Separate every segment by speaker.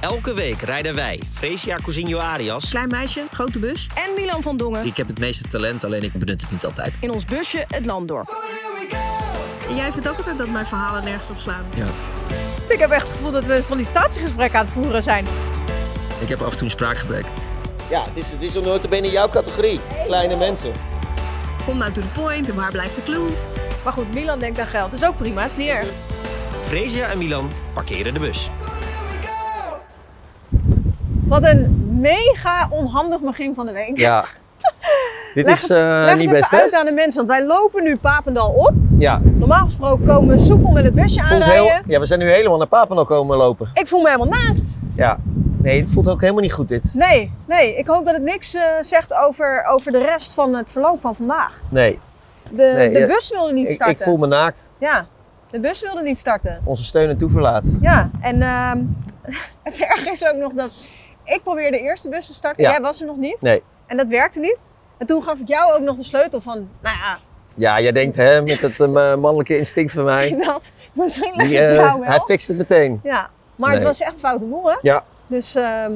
Speaker 1: Elke week rijden wij Fresia Cousinho Arias.
Speaker 2: Klein meisje, grote bus.
Speaker 3: en Milan van Dongen
Speaker 1: Ik heb het meeste talent, alleen ik benut het niet altijd.
Speaker 3: in ons busje het land door.
Speaker 2: En jij vindt ook altijd dat mijn verhalen nergens op slaan.
Speaker 1: Ja.
Speaker 4: Ik heb echt het gevoel dat we een sollicitatiegesprek aan het voeren zijn.
Speaker 1: Ik heb af en toe een spraakgebrek. Ja, het is, het is notabene jouw categorie. Kleine mensen.
Speaker 2: Kom nou to the point en waar blijft de clue?
Speaker 4: Maar goed, Milan denkt aan geld. Dus ook prima, is niet erg.
Speaker 1: Fresia en Milan parkeren de bus.
Speaker 4: Wat een mega onhandig begin van de week.
Speaker 5: Ja. Dit
Speaker 4: Leg
Speaker 5: is
Speaker 4: het-
Speaker 5: eh,
Speaker 4: Leg het
Speaker 5: niet
Speaker 4: even
Speaker 5: best, hè?
Speaker 4: uit aan de mensen, want wij lopen nu Papendal op.
Speaker 5: Ja.
Speaker 4: Normaal gesproken komen we soepel met het busje
Speaker 5: Voelt
Speaker 4: aanrijden.
Speaker 5: heel, ja, we zijn nu helemaal naar Papendal komen lopen.
Speaker 4: Ik voel me helemaal naakt.
Speaker 5: Ja. Nee, het voelt ook helemaal niet goed, dit.
Speaker 4: Nee, nee. Ik hoop dat het niks eh, zegt over, over de rest van het verloop van vandaag.
Speaker 5: Nee.
Speaker 4: De,
Speaker 5: Nee,
Speaker 4: de
Speaker 5: ja,
Speaker 4: bus wilde niet
Speaker 5: Ik, ik
Speaker 4: starten.
Speaker 5: voel me naakt.
Speaker 4: Ja, de bus wilde niet starten.
Speaker 5: Onze steun en toeverlaat.
Speaker 4: Ja, en ehm, het erg is ook nog dat ik probeerde eerst de bus te starten.
Speaker 5: Ja.
Speaker 4: Jij was er nog niet.
Speaker 5: Nee.
Speaker 4: En dat werkte niet. En toen gaf ik jou ook nog de sleutel van, nou ja,
Speaker 5: Ja, jij denkt, hè, met het eh, mannelijke instinct van mij.
Speaker 4: dat misschien leg
Speaker 5: Die,
Speaker 4: ik
Speaker 5: eh,
Speaker 4: jou wel.
Speaker 5: hij fixt het meteen.
Speaker 4: Ja, maar het
Speaker 5: Nee.
Speaker 4: was echt foute boel, hè?
Speaker 5: Ja.
Speaker 4: Dus ehm,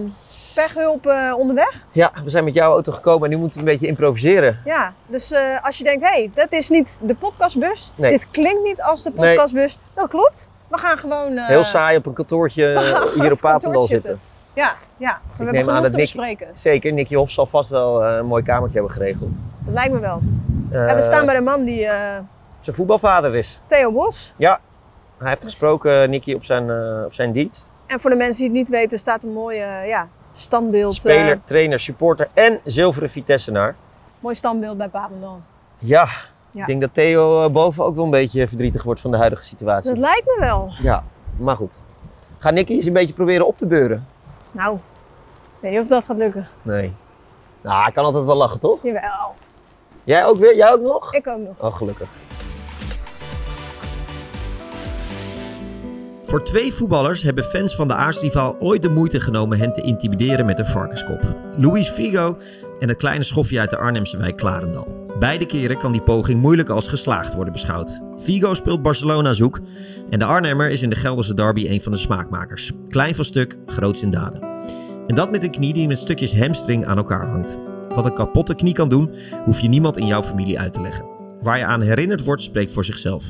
Speaker 4: pechhulp eh, onderweg.
Speaker 5: Ja, we zijn met jouw auto gekomen en nu moeten we een beetje improviseren.
Speaker 4: Ja, dus eh, als je denkt, hé, hey, dat is niet de podcastbus.
Speaker 5: Nee.
Speaker 4: Dit klinkt niet als de
Speaker 5: Nee.
Speaker 4: podcastbus. Dat klopt. We gaan gewoon... eh,
Speaker 5: Heel saai op een kantoortje eh, hier op Papendal
Speaker 4: kantoortje
Speaker 5: zitten.
Speaker 4: Ja, ja. We
Speaker 5: neem aan
Speaker 4: hebben genoeg
Speaker 5: dat
Speaker 4: te
Speaker 5: Nick-
Speaker 4: bespreken.
Speaker 5: Zeker, Nicky Hof zal vast wel eh, een mooi kamertje hebben geregeld.
Speaker 4: Dat lijkt me wel.
Speaker 5: Eh,
Speaker 4: en we staan bij de man die... eh,
Speaker 5: Zijn voetbalvader is.
Speaker 4: Theo Bos.
Speaker 5: Hij
Speaker 4: dus-
Speaker 5: heeft gesproken, eh, Nicky, op zijn, eh, op zijn dienst.
Speaker 4: En voor de mensen die het niet weten, staat een mooi eh, ja, standbeeld. eh,
Speaker 5: Speler, trainer, supporter en zilveren Vitessenaar.
Speaker 4: mooi standbeeld bij Papendal.
Speaker 5: Ja,
Speaker 4: Ja.
Speaker 5: ik denk dat Theo eh, boven ook wel een beetje verdrietig wordt van de huidige situatie.
Speaker 4: Dat lijkt me wel.
Speaker 5: Ja, maar goed. Ga Nicky eens een beetje proberen op te beuren?
Speaker 4: Nou, ik weet niet of dat gaat lukken.
Speaker 5: Nee. Nou, hij kan altijd wel lachen, toch?
Speaker 4: Jawel,
Speaker 5: Jij ook weer? Jij ook nog?
Speaker 4: ik ook nog.
Speaker 5: Oh, gelukkig.
Speaker 1: Voor twee voetballers hebben fans van de aartsrivaal ooit de moeite genomen hen te intimideren met een varkenskop. Luis Figo en het kleine schofje uit de Arnhemse wijk Klarendal. Beide keren kan die poging moeilijk als geslaagd worden beschouwd. Figo speelt Barcelona zoek en de Arnhemmer is in de Gelderse derby een van de smaakmakers. Klein van stuk, groots in daden. En dat met een knie die met stukjes hamstring aan elkaar hangt. Wat een kapotte knie kan doen, hoef je niemand in jouw familie uit te leggen. Waar je aan herinnerd wordt, spreekt voor zichzelf.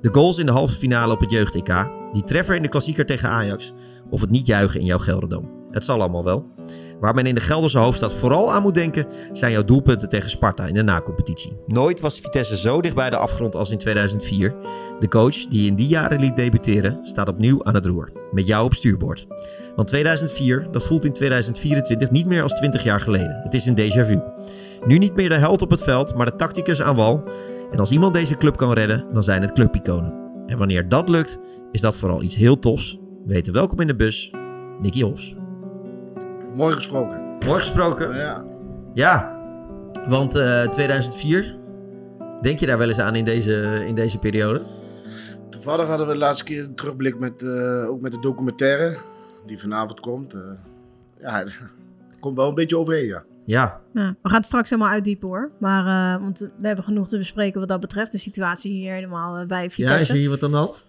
Speaker 1: De goals in de halve finale op het jeugd-EK, die treffer in de klassieker tegen Ajax of het niet juichen in jouw Gelderdoom. Het zal allemaal wel. Waar men in de Gelderse hoofdstad vooral aan moet denken zijn jouw doelpunten tegen Sparta in de nacompetitie. Nooit was Vitesse zo dicht bij de afgrond als in 2004. De coach die je in die jaren liet debuteren staat opnieuw aan het roer. Met jou op stuurboord. Want 2004, dat voelt in 2024 niet meer als 20 jaar geleden. Het is een déjà vu. Nu niet meer de held op het veld, maar de tacticus aan wal. En als iemand deze club kan redden, dan zijn het clubiconen. En wanneer dat lukt, is dat vooral iets heel tofs. Weten welkom in de bus, Nicky Hofs.
Speaker 6: Mooi gesproken.
Speaker 1: Mooi gesproken.
Speaker 6: Ja.
Speaker 1: Ja, want eh, 2004, denk je daar wel eens aan in deze, in deze periode?
Speaker 6: Toevallig hadden we de laatste keer een terugblik met, eh, ook met de documentaire die vanavond komt. Eh, ja, komt wel een beetje overheen, ja.
Speaker 1: Ja,
Speaker 2: Ja, we gaan het straks helemaal uitdiepen hoor. Maar, eh, want we hebben genoeg te bespreken wat dat betreft. De situatie hier helemaal eh, bij
Speaker 1: ja is
Speaker 2: Vitesse.
Speaker 1: er hier wat aan de hand?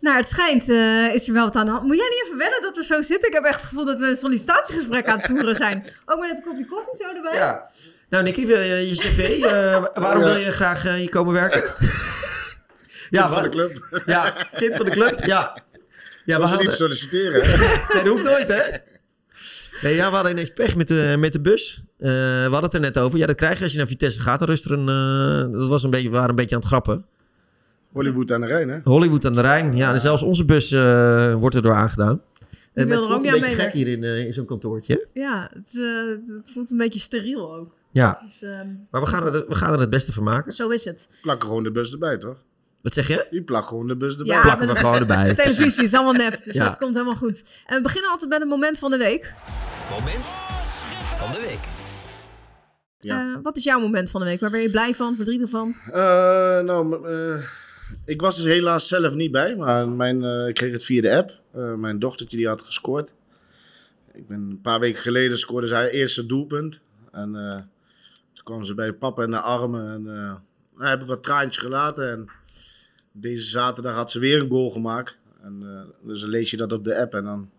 Speaker 2: Nou, het schijnt, eh, is er wel wat aan de hand. Moet jij niet even wennen dat we zo zitten? Ik heb echt het gevoel dat we een sollicitatiegesprek aan het voeren zijn. Ook met een kopje koffie zo erbij.
Speaker 1: Nou Nicky, wil je je cv? eh, waarom wil je graag eh, hier komen werken? ja,
Speaker 6: Van
Speaker 1: wa-
Speaker 6: de club.
Speaker 1: ja, kind van de club, ja. Ja, we
Speaker 6: Mogen we
Speaker 1: hadden,
Speaker 6: niet solliciteren. hè?
Speaker 1: Nee, dat hoeft nooit, hè? Nee, ja, we hadden ineens pech met de, met de bus. Eh, we hadden het er net over. Ja, dat krijg je als je naar Vitesse gaat. Dan rust er een... eh, dat was een beetje, we waren een beetje aan het grappen.
Speaker 6: Hollywood aan de Rijn, hè?
Speaker 1: Hollywood aan de Rijn. Ja, en zelfs onze bus eh, wordt erdoor aangedaan.
Speaker 2: wil
Speaker 1: Het
Speaker 2: er
Speaker 1: voelt
Speaker 2: ook niet
Speaker 1: een
Speaker 2: aan
Speaker 1: beetje gek
Speaker 2: meewerken.
Speaker 1: hier in, eh, in zo'n kantoortje.
Speaker 2: Ja, het, is, eh, het voelt een beetje steriel ook.
Speaker 1: Ja,
Speaker 2: Dus, ehm,
Speaker 1: maar we gaan, er, we gaan er het beste van maken.
Speaker 2: zo is het.
Speaker 6: Plak gewoon de bus erbij, toch?
Speaker 1: Wat zeg je?
Speaker 6: Die plak gewoon de bus erbij.
Speaker 2: Ja.
Speaker 1: Plakken we
Speaker 2: maar-
Speaker 1: gewoon erbij.
Speaker 2: De televisie is allemaal nep, dus
Speaker 1: Ja.
Speaker 2: dat komt helemaal goed. En we beginnen altijd met een moment van de week.
Speaker 1: Moment van de week.
Speaker 6: Ja.
Speaker 2: Eh, wat is jouw moment van de week? Waar ben je blij van, verdrietig van?
Speaker 6: Eh, nou, m- eh, ik was dus helaas zelf niet bij, maar mijn, eh, ik kreeg het via de app. Eh, mijn dochtertje die had gescoord. Ik ben, een paar weken geleden scoorde zij haar eerste doelpunt. En eh, toen kwam ze bij papa in de armen. En eh, daar heb ik wat traantjes gelaten. En deze zaterdag had ze weer een goal gemaakt. En, eh, dus dan lees je dat op de app en dan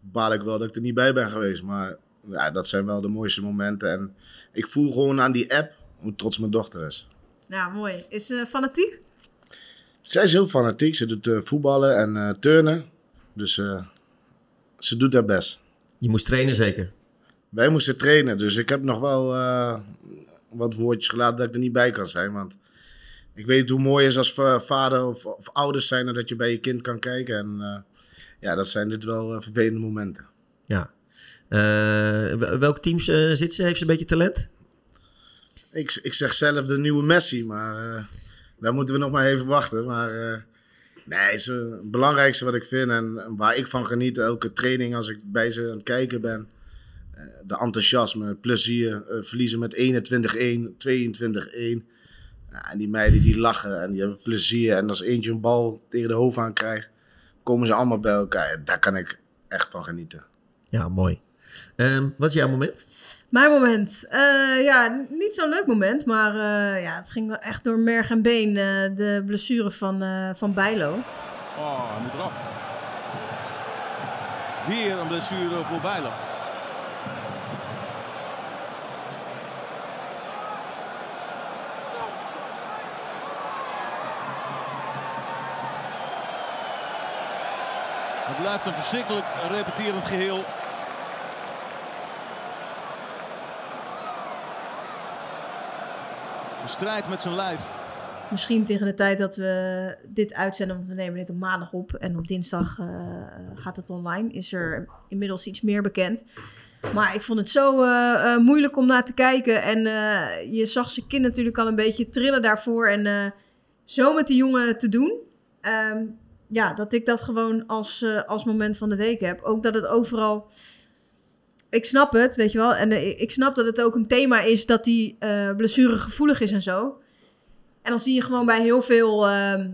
Speaker 6: baal ik wel dat ik er niet bij ben geweest. Maar ja, dat zijn wel de mooiste momenten. En ik voel gewoon aan die app hoe trots mijn dochter is.
Speaker 2: Ja, Nou, mooi. Is ze fanatiek?
Speaker 6: Zij is heel fanatiek. Ze doet eh, voetballen en eh, turnen. Dus eh, ze doet haar best.
Speaker 1: Je moest trainen zeker.
Speaker 6: Wij moesten trainen, dus ik heb nog wel eh, wat woordjes gelaten dat ik er niet bij kan zijn. Want ik weet hoe mooi het is als va- vader of, of ouders zijn en dat je bij je kind kan kijken. En eh, ja, dat zijn dit wel eh, vervelende momenten.
Speaker 1: Ja. Eh, wel- welk team eh, zit ze? Heeft ze een beetje talent?
Speaker 6: Ik, ik zeg zelf de nieuwe Messi, maar eh, daar moeten we nog maar even wachten. Maar eh, nee, ze, het belangrijkste wat ik vind en waar ik van geniet, elke training als ik bij ze aan het kijken ben. eh, de enthousiasme, het plezier, eh, verliezen met 21-1, 22-1. Ja, en die meiden die lachen en die hebben plezier. En als eentje een bal tegen de hoofd aan krijgt, komen ze allemaal bij elkaar. Daar kan ik echt van genieten.
Speaker 1: Ja, mooi. Ehm, wat is jouw moment?
Speaker 2: Mijn moment. Eh, ja, niet zo'n leuk moment, maar eh, ja, het ging wel echt door merg en been. eh, de blessure van, eh, van Bijlo.
Speaker 7: Oh, hij moet eraf. Weer een blessure voor Bijlo. Het blijft een verschrikkelijk repeterend geheel. De strijd met zijn lijf.
Speaker 2: Misschien tegen de tijd dat we dit uitzenden, want we nemen dit op maandag op en op dinsdag eh, gaat het online, is er inmiddels iets meer bekend. Maar ik vond het zo eh, eh, moeilijk om naar te kijken. En eh, je zag zijn kind natuurlijk al een beetje trillen daarvoor. En eh, zo met die jongen te doen. ehm, ja, dat ik dat gewoon als, eh, als moment van de week heb. Ook dat het overal. Ik snap het, weet je wel. En eh, ik snap dat het ook een thema is dat die eh blessure gevoelig is en zo. En dan zie je gewoon bij heel veel, ehm,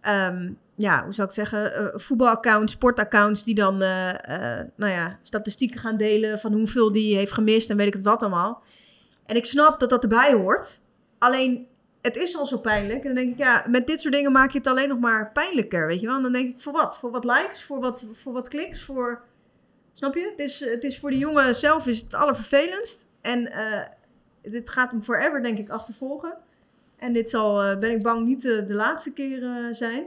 Speaker 2: ehm, ja, hoe zou ik het zeggen, eh, voetbalaccounts, sportaccounts die dan, eh, eh, nou ja, statistieken gaan delen van hoeveel die heeft gemist en weet ik het wat allemaal. En ik snap dat dat erbij hoort. Alleen, het is al zo pijnlijk. En dan denk ik, ja, met dit soort dingen maak je het alleen nog maar pijnlijker, weet je wel. En dan denk ik, voor wat? Voor wat likes? Voor wat, voor wat kliks? Voor, snap je? Het is, het is voor de jongen zelf is het allervervelendst. En eh, dit gaat hem forever, denk ik, achtervolgen. En dit zal, eh, ben ik bang, niet eh, de laatste keer eh, zijn.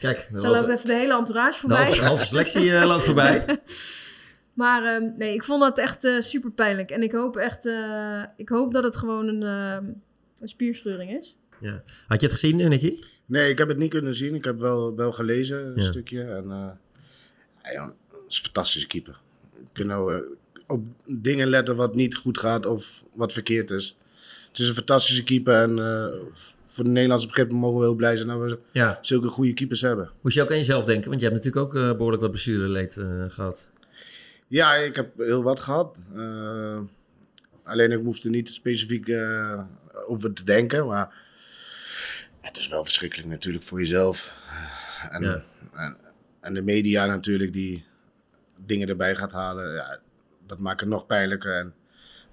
Speaker 1: Kijk,
Speaker 2: Daar loopt even de hele entourage
Speaker 1: de halve,
Speaker 2: voorbij.
Speaker 1: de halve selectie eh, loopt voorbij.
Speaker 2: Maar ehm, nee, ik vond dat echt super pijnlijk. En ik hoop echt, eh, ik hoop dat het gewoon een, ehm, een spierscheuring is.
Speaker 1: Had je het gezien, eh, Nicky?
Speaker 6: Nee, ik heb het niet kunnen zien. Ik heb wel, wel gelezen, een
Speaker 1: Ja.
Speaker 6: stukje. En, eh ja, joh, het is een fantastische keeper. Je kunt nou eh, op dingen letten wat niet goed gaat of wat verkeerd is. Het is een fantastische keeper. En eh, voor de Nederlandse begrippen mogen we heel blij zijn dat we
Speaker 1: Ja.
Speaker 6: zulke goede keepers hebben.
Speaker 1: Moest je ook aan jezelf denken, want je hebt natuurlijk ook eh, behoorlijk wat blessureleed eh, gehad.
Speaker 6: Ja, ik heb heel wat gehad. Eh, alleen ik moest er niet specifiek eh, over te denken. Maar het is wel verschrikkelijk natuurlijk voor jezelf. En,
Speaker 1: Ja.
Speaker 6: en, en de media natuurlijk die dingen erbij gaat halen. Ja, dat maakt het nog pijnlijker. En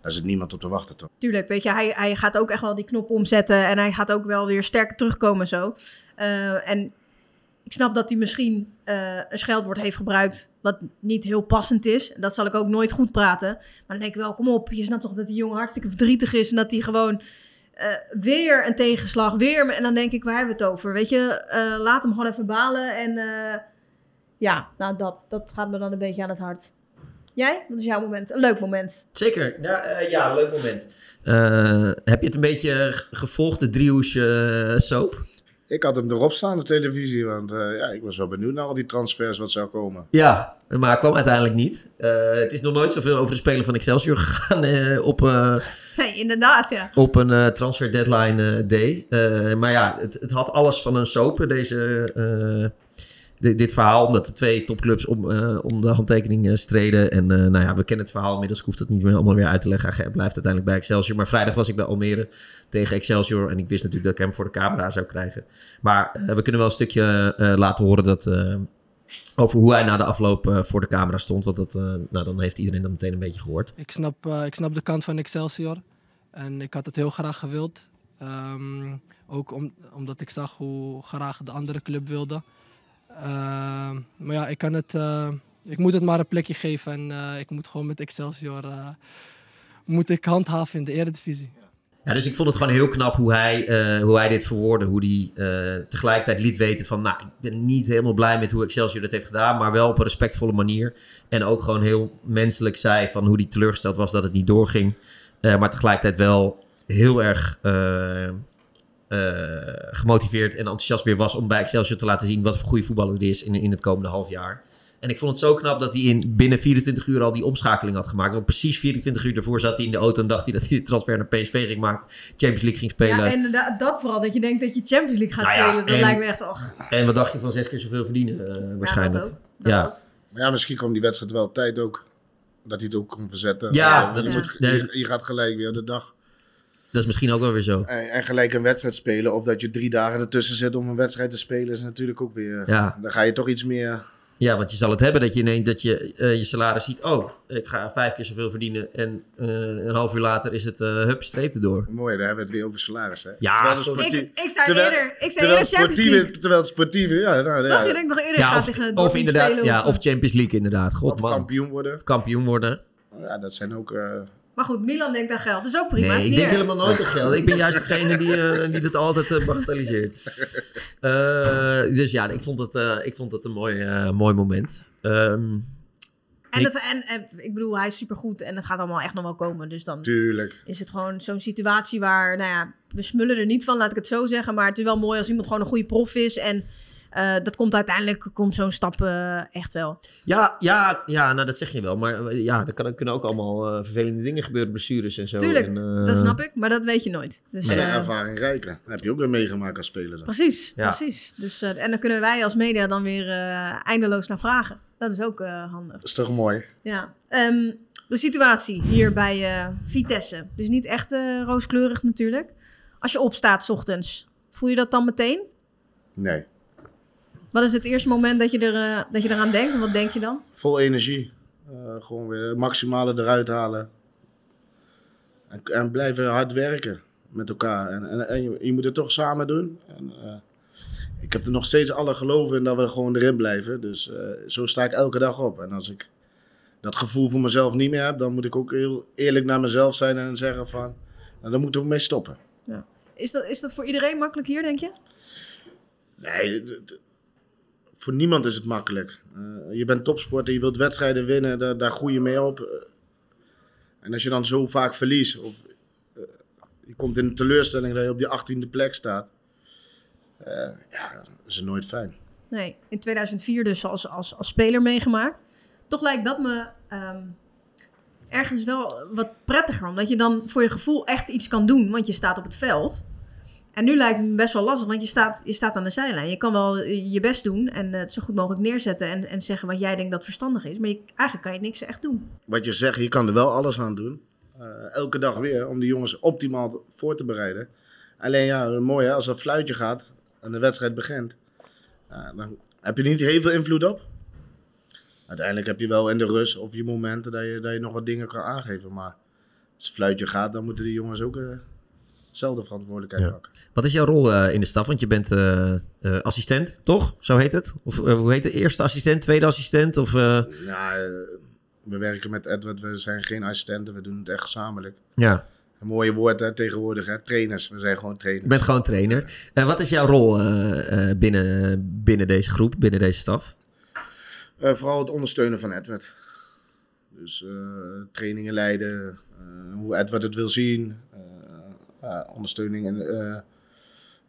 Speaker 6: daar zit niemand op te wachten toch.
Speaker 2: Tuurlijk, weet je, hij, hij gaat ook echt wel die knop omzetten. En hij gaat ook wel weer sterker terugkomen en zo. Eh, en ik snap dat hij misschien eh, een scheldwoord heeft gebruikt wat niet heel passend is. Dat zal ik ook nooit goed praten. Maar dan denk ik wel, kom op, je snapt toch dat die jongen hartstikke verdrietig is. En dat hij gewoon eh, weer een tegenslag, weer... En dan denk ik, waar hebben we het over? Weet je, eh, laat hem gewoon even balen. En eh, ja, nou dat, dat gaat me dan een beetje aan het hart. Jij? Wat is jouw moment? Een leuk moment.
Speaker 1: Zeker, ja, eh, ja leuk moment. Eh, heb je het een beetje g- gevolgd, de driehoesje eh, soap?
Speaker 6: Ik had hem erop staan op televisie. Want eh, ja, ik was wel benieuwd naar al die transfers wat zou komen.
Speaker 1: Ja. Maar kwam uiteindelijk niet. Eh, het is nog nooit zoveel over de speler van Excelsior gegaan eh, op, eh,
Speaker 2: Nee, inderdaad, ja.
Speaker 1: op een eh, transfer deadline eh, day. Eh, maar ja, het, het had alles van een soap, deze, eh, di- dit verhaal. Omdat de twee topclubs om, eh, om de handtekening eh, streden. En eh, nou ja, we kennen het verhaal inmiddels. Ik hoef dat niet meer allemaal weer uit te leggen. Hij blijft uiteindelijk bij Excelsior. Maar vrijdag was ik bij Almere tegen Excelsior. En ik wist natuurlijk dat ik hem voor de camera zou krijgen. Maar eh, we kunnen wel een stukje eh, laten horen dat... eh, over hoe hij na de afloop eh, voor de camera stond. Want dat, eh, nou, dan heeft iedereen dat meteen een beetje gehoord.
Speaker 8: Ik snap, eh, ik snap de kant van Excelsior. En ik had het heel graag gewild. Ehm, ook om, omdat ik zag hoe graag de andere club wilde. Ehm, maar ja, ik kan het, eh, Ik moet het maar een plekje geven en eh, ik moet gewoon met Excelsior eh, moet ik handhaven in de Eredivisie.
Speaker 1: Ja, dus ik vond het gewoon heel knap hoe hij, eh, hoe hij dit verwoordde. Hoe hij eh, tegelijkertijd liet weten van... Nou, ik ben niet helemaal blij met hoe Excelsior dat heeft gedaan. Maar wel op een respectvolle manier. En ook gewoon heel menselijk zei van hoe hij teleurgesteld was dat het niet doorging. Eh, maar tegelijkertijd wel heel erg eh, eh, gemotiveerd en enthousiast weer was... om bij Excelsior te laten zien wat voor goede voetballer het is in, in het komende half jaar. En ik vond het zo knap dat hij in binnen 24 uur al die omschakeling had gemaakt. Want precies 24 uur daarvoor zat hij in de auto en dacht hij dat hij de transfer naar PSV ging maken. Champions League ging spelen.
Speaker 2: Ja,
Speaker 1: en...
Speaker 2: en da- dat vooral, dat je denkt dat je Champions League gaat
Speaker 1: Nou ja,
Speaker 2: spelen. Dat
Speaker 1: en-
Speaker 2: lijkt me echt, och,
Speaker 1: wat dacht je van zes keer zoveel verdienen eh, waarschijnlijk?
Speaker 2: Ja, dat ook. Dat
Speaker 1: Ja.
Speaker 2: ook.
Speaker 6: Maar ja, misschien kwam die wedstrijd wel op tijd ook. Dat hij het ook kon verzetten.
Speaker 1: Ja,
Speaker 6: Eh,
Speaker 1: dat
Speaker 6: je,
Speaker 1: is-
Speaker 6: moet-
Speaker 1: nee.
Speaker 6: je, je gaat gelijk weer de dag.
Speaker 1: Dat is misschien ook wel weer zo.
Speaker 6: eh, En, en gelijk een wedstrijd spelen. Of dat je drie dagen ertussen zit om een wedstrijd te spelen. Is natuurlijk ook weer...
Speaker 1: Ja.
Speaker 6: Dan ga je toch iets meer...
Speaker 1: Ja, want je zal het hebben dat je ineens dat je eh, je salaris ziet. Oh, ik ga vijf keer zoveel verdienen. En eh, een half uur later is het eh hup, streep erdoor.
Speaker 6: Mooi, daar hebben we het weer over salaris. Hè?
Speaker 1: Ja,
Speaker 6: Terwijl de
Speaker 1: sorry.
Speaker 6: sportie-
Speaker 2: Ik, ik zei
Speaker 6: terwijl-
Speaker 2: eerder, ik zei
Speaker 6: Terwijl
Speaker 2: eerder
Speaker 6: het
Speaker 2: Champions
Speaker 6: sportieve...
Speaker 2: League.
Speaker 6: Terwijl het sportieve... Ja, nou,
Speaker 2: Dacht je
Speaker 6: ja,
Speaker 2: dat ik nog eerder
Speaker 1: Ja,
Speaker 2: gaat
Speaker 1: of,
Speaker 2: tegen
Speaker 1: of
Speaker 2: Dortmund
Speaker 1: inderdaad,
Speaker 2: eh, spelen?
Speaker 1: ja,
Speaker 2: of- eh,
Speaker 1: of Champions League inderdaad. God
Speaker 6: of
Speaker 1: man,
Speaker 6: kampioen worden.
Speaker 1: kampioen worden.
Speaker 6: Ja, dat zijn ook... eh,
Speaker 2: Maar goed, Milan denkt aan geld. Dus ook prima.
Speaker 1: Nee,
Speaker 2: is
Speaker 1: ik
Speaker 2: niet
Speaker 1: denk
Speaker 2: erg.
Speaker 1: helemaal nooit op geld. Ik ben juist degene die, eh, die dat altijd eh, bagatelliseert. Eh, dus ja, ik vond het, eh, ik vond het een mooi, eh, mooi moment. Ehm,
Speaker 2: En, dat, en, en ik bedoel, hij is supergoed en het gaat allemaal echt nog wel komen. Dus dan
Speaker 6: Tuurlijk.
Speaker 2: is het gewoon zo'n situatie waar, nou ja, we smullen er niet van, laat ik het zo zeggen. Maar het is wel mooi als iemand gewoon een goede prof is. En eh, dat komt uiteindelijk, komt zo'n stap eh, echt wel.
Speaker 1: ja, ja, ja, nou dat zeg je wel. Maar eh, ja, er kan- kunnen ook allemaal eh, vervelende dingen gebeuren. Blessures en zo.
Speaker 2: Tuurlijk,
Speaker 1: en, eh,
Speaker 2: dat snap ik, maar dat weet je nooit. Dus,
Speaker 6: Maar
Speaker 2: eh,
Speaker 6: zijn ervaring rijker. Dat heb je ook weer meegemaakt als speler. dan.
Speaker 2: precies,
Speaker 1: Ja.
Speaker 2: precies. Dus, eh, en dan kunnen wij als media dan weer eh, eindeloos naar vragen. Dat is ook eh, handig.
Speaker 6: Dat is toch mooi?
Speaker 2: Ja, ehm, de situatie hier bij eh, Vitesse. Dus niet echt eh, rooskleurig natuurlijk. Als je opstaat 's ochtends, voel je dat dan meteen?
Speaker 6: Nee.
Speaker 2: Wat is het eerste moment dat je, er, eh, dat je eraan denkt? En wat denk je dan?
Speaker 6: Vol energie. Eh, gewoon weer het maximale eruit halen. En, en blijven hard werken met elkaar. En, en, en je, je moet het toch samen doen. En, eh, ik heb er nog steeds alle geloven in dat we er gewoon erin blijven. Dus eh, zo sta ik elke dag op. En als ik dat gevoel voor mezelf niet meer heb, dan moet ik ook heel eerlijk naar mezelf zijn en zeggen van, nou, daar moeten we mee stoppen.
Speaker 2: Is dat, is dat voor iedereen makkelijk hier, denk je?
Speaker 6: Nee, d- d- voor niemand is het makkelijk. Eh, je bent topsporter, je wilt wedstrijden winnen, daar, daar groei je mee op. Eh, en als je dan zo vaak verliest, of eh, je komt in een teleurstelling dat je op die 18e plek staat, eh, ja, dat is nooit fijn.
Speaker 2: Nee, in 2004 dus als, als, als speler meegemaakt. Toch lijkt dat me ehm, ergens wel wat prettiger. Omdat je dan voor je gevoel echt iets kan doen. Want je staat op het veld. En nu lijkt het me best wel lastig. Want je staat, je staat aan de zijlijn. Je kan wel eh, je best doen. En eh, het zo goed mogelijk neerzetten. En, en zeggen wat jij denkt dat verstandig is. Maar je, eigenlijk kan je niks echt doen.
Speaker 6: Wat je zegt, je kan er wel alles aan doen. Eh, elke dag weer, om die jongens optimaal voor te bereiden. Alleen ja, mooi hè, als dat fluitje gaat en de wedstrijd begint, ja, dan heb je niet heel veel invloed op. Uiteindelijk heb je wel in de rust of je momenten dat je, dat je nog wat dingen kan aangeven. Maar als het fluitje gaat, dan moeten die jongens ook eh, zelf de verantwoordelijkheid
Speaker 1: Ja.
Speaker 6: pakken.
Speaker 1: Wat is jouw rol eh, in de staf? Want je bent eh, eh, assistent, toch? Zo heet het? Of eh, hoe heet het? Eerste assistent, tweede assistent? Of, eh,
Speaker 6: Ja, eh, we werken met Edward, we zijn geen assistenten, we doen het echt gezamenlijk.
Speaker 1: ja,
Speaker 6: Een mooie woord hè, tegenwoordig, hè? trainers. We zijn gewoon
Speaker 1: je
Speaker 6: trainers.
Speaker 1: bent gewoon trainer. Eh, wat is jouw rol eh, eh, binnen, binnen deze groep, binnen deze staf?
Speaker 6: Eh, vooral het ondersteunen van Edward. Dus eh, trainingen leiden, eh, hoe Edward het wil zien, eh, ja, ondersteuning in, eh,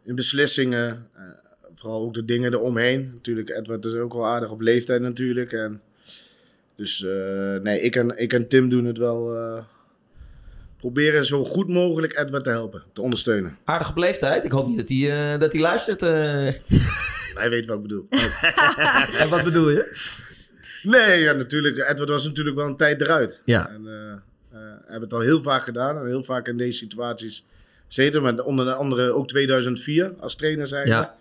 Speaker 6: in beslissingen. eh, vooral ook de dingen eromheen. Natuurlijk, Edward is ook wel aardig op leeftijd natuurlijk. En, dus eh, nee, ik en, ik en Tim doen het wel. eh, proberen zo goed mogelijk Edward te helpen, te ondersteunen.
Speaker 1: Aardig op leeftijd. Ik hoop niet dat hij, eh, dat hij luistert. eh.
Speaker 6: Hij weet wat ik bedoel.
Speaker 1: en wat bedoel je?
Speaker 6: Nee, ja, natuurlijk. Edward was natuurlijk wel een tijd eruit.
Speaker 1: Ja.
Speaker 6: En, eh, eh, hebben het al heel vaak gedaan en heel vaak in deze situaties zitten. Met onder andere ook 2004 als trainer zijn.
Speaker 1: Ja.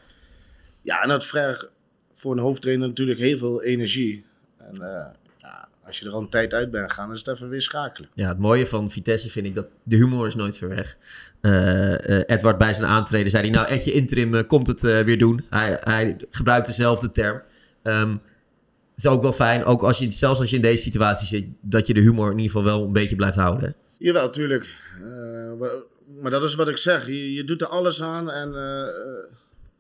Speaker 6: ja, en dat vraagt voor een hoofdtrainer natuurlijk heel veel energie. En eh, ja, als je er al een tijd uit bent gegaan, is het even weer schakelen.
Speaker 1: Ja, het mooie van Vitesse vind ik dat de humor is nooit ver weg. Eh, eh, Edward bij zijn aantreden zei hij, nou Edje Interim eh, komt het eh, weer doen. Hij, hij gebruikt dezelfde term. Ehm, is ook wel fijn, ook als je, zelfs als je in deze situatie zit, dat je de humor in ieder geval wel een beetje blijft houden.
Speaker 6: Jawel, tuurlijk. Eh, wa- maar dat is wat ik zeg. Je, je doet er alles aan en eh,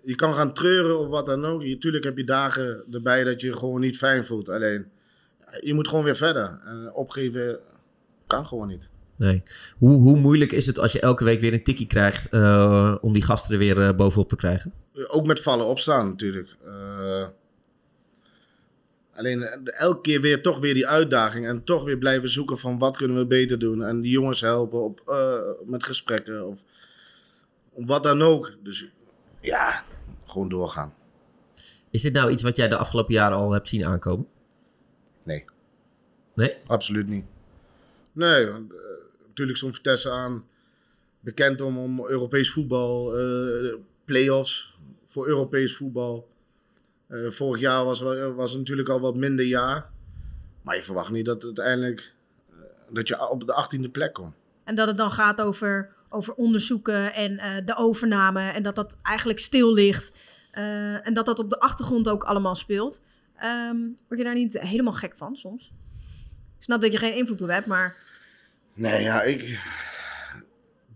Speaker 6: je kan gaan treuren of wat dan ook. Je, tuurlijk heb je dagen erbij dat je je gewoon niet fijn voelt. Alleen, je moet gewoon weer verder. En opgeven kan gewoon niet.
Speaker 1: Nee. Hoe, hoe moeilijk is het als je elke week weer een tikkie krijgt eh, om die gasten er weer eh, bovenop te krijgen?
Speaker 6: Ook met vallen opstaan natuurlijk. Eh, alleen eh, elke keer weer toch weer die uitdaging. En toch weer blijven zoeken van wat kunnen we beter doen. En die jongens helpen op, eh, met gesprekken of wat dan ook. Dus ja, gewoon doorgaan.
Speaker 1: Is dit nou iets wat jij de afgelopen jaren al hebt zien aankomen?
Speaker 6: Nee.
Speaker 1: Nee?
Speaker 6: Absoluut niet. Nee, want, eh, natuurlijk zo'n Vitesse aan. Bekend om, om Europees voetbal, eh play-offs voor Europees voetbal. Eh, vorig jaar was, wel- was het natuurlijk al wat minder jaar. Maar je verwacht niet dat uiteindelijk eh, dat je op de 18e plek komt.
Speaker 2: En dat het dan gaat over, over onderzoeken en eh, de overname. En dat dat eigenlijk stil ligt. Eh, en dat dat op de achtergrond ook allemaal speelt. Ehm, word je daar niet helemaal gek van soms? Ik snap dat je geen invloed op hebt, maar
Speaker 6: Nee, ja, ik.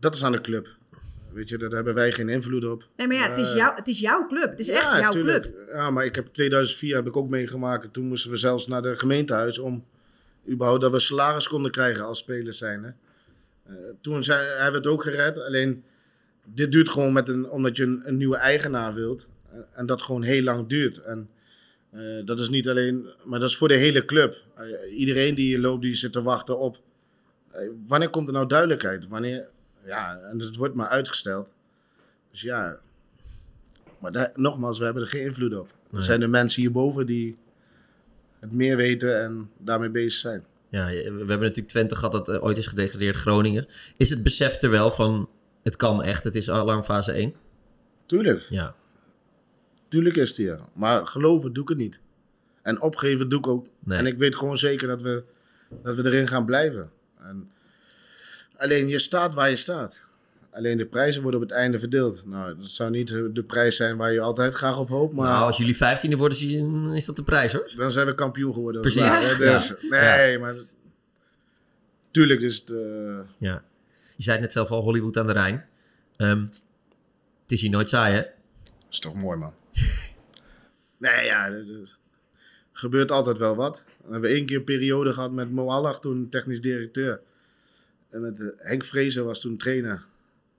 Speaker 6: Dat is aan de club. Weet je, daar hebben wij geen invloed op.
Speaker 2: nee, maar ja, het, is
Speaker 6: Eh,
Speaker 2: jou, het is jouw club. Het is echt
Speaker 6: Ja,
Speaker 2: jouw
Speaker 6: tuurlijk.
Speaker 2: club.
Speaker 6: Ja, maar ik heb 2004 heb ik ook meegemaakt. Toen moesten we zelfs naar de gemeentehuis om überhaupt dat we salaris konden krijgen als spelers zijn. Hè. Eh, toen zijn, hebben we het ook gered. Alleen dit duurt gewoon met een, omdat je een, een nieuwe eigenaar wilt. Eh, en dat gewoon heel lang duurt. En eh, dat is niet alleen, maar dat is voor de hele club. Eh, iedereen die hier loopt, die zit te wachten op. eh, wanneer komt er nou duidelijkheid? Wanneer, ja, en het wordt maar uitgesteld. Dus ja, maar daar, nogmaals, we hebben er geen invloed op. Er
Speaker 1: Nee.
Speaker 6: zijn de mensen hierboven die het meer weten en daarmee bezig zijn.
Speaker 1: Ja, je- we hebben natuurlijk Twente gehad dat eh, ooit is gedegradeerd Groningen. Is het besef er wel van, het kan echt, het is alarmfase 1?
Speaker 6: Tuurlijk,
Speaker 1: Ja.
Speaker 6: tuurlijk is het hier. Maar geloven doe ik het niet. En opgeven doe ik ook.
Speaker 1: Nee.
Speaker 6: En ik weet gewoon zeker dat we, dat we erin gaan blijven. En alleen je staat waar je staat. Alleen de prijzen worden op het einde verdeeld. Nou, dat zou niet eh, de prijs zijn waar je altijd graag op hoopt. Maar
Speaker 1: Nou, als jullie 15e worden, zie je- mm, is dat de prijs hoor.
Speaker 6: dan zijn we kampioen geworden.
Speaker 1: Precies.
Speaker 6: Klaar, hè?
Speaker 1: Ja.
Speaker 6: Dus, Nee, maar... Tuurlijk is het... eh,
Speaker 1: Ja. Je zei het net zelf al, Hollywood aan de Rijn. Ehm, het is hier nooit saai, hè?
Speaker 6: is toch mooi, man. nee, ja, er- er gebeurt altijd wel wat. We hebben één keer een periode gehad met Mo Allach, toen technisch directeur. En met eh, Henk Vrezen was toen trainer.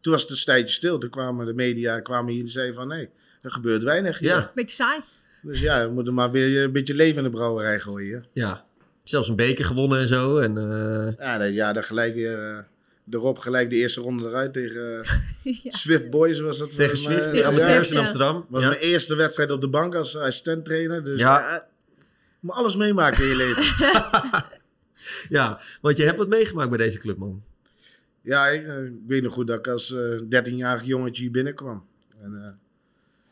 Speaker 6: Toen was het een tijdje stil. Toen kwamen de media kwamen hier en zeiden van... Nee, er gebeurt weinig hier.
Speaker 1: Ja.
Speaker 2: Beetje saai.
Speaker 6: Dus ja, we moeten maar weer een beetje leven in de brouwerij gooien. hier.
Speaker 1: Ja. Zelfs een beker gewonnen en zo. En, eh,
Speaker 6: Ja, dan, ja, dan gelijk weer... eh, erop gelijk de eerste ronde eruit tegen eh,
Speaker 2: ja.
Speaker 6: Swift Boys was dat.
Speaker 1: tegen
Speaker 6: volgens mij.
Speaker 1: Swift,
Speaker 2: ja,
Speaker 1: die amateurs
Speaker 2: ja.
Speaker 1: in Amsterdam.
Speaker 6: was
Speaker 1: Ja.
Speaker 6: mijn eerste wedstrijd op de bank als assistent trainer. Dus
Speaker 1: Ja.
Speaker 6: ja. je moet alles meemaken in je leven.
Speaker 1: ja, want je hebt wat meegemaakt bij deze club, man.
Speaker 6: ja, ik, eh, ik weet nog goed dat ik als eh, 13-jarig jongetje hier binnenkwam. En, eh,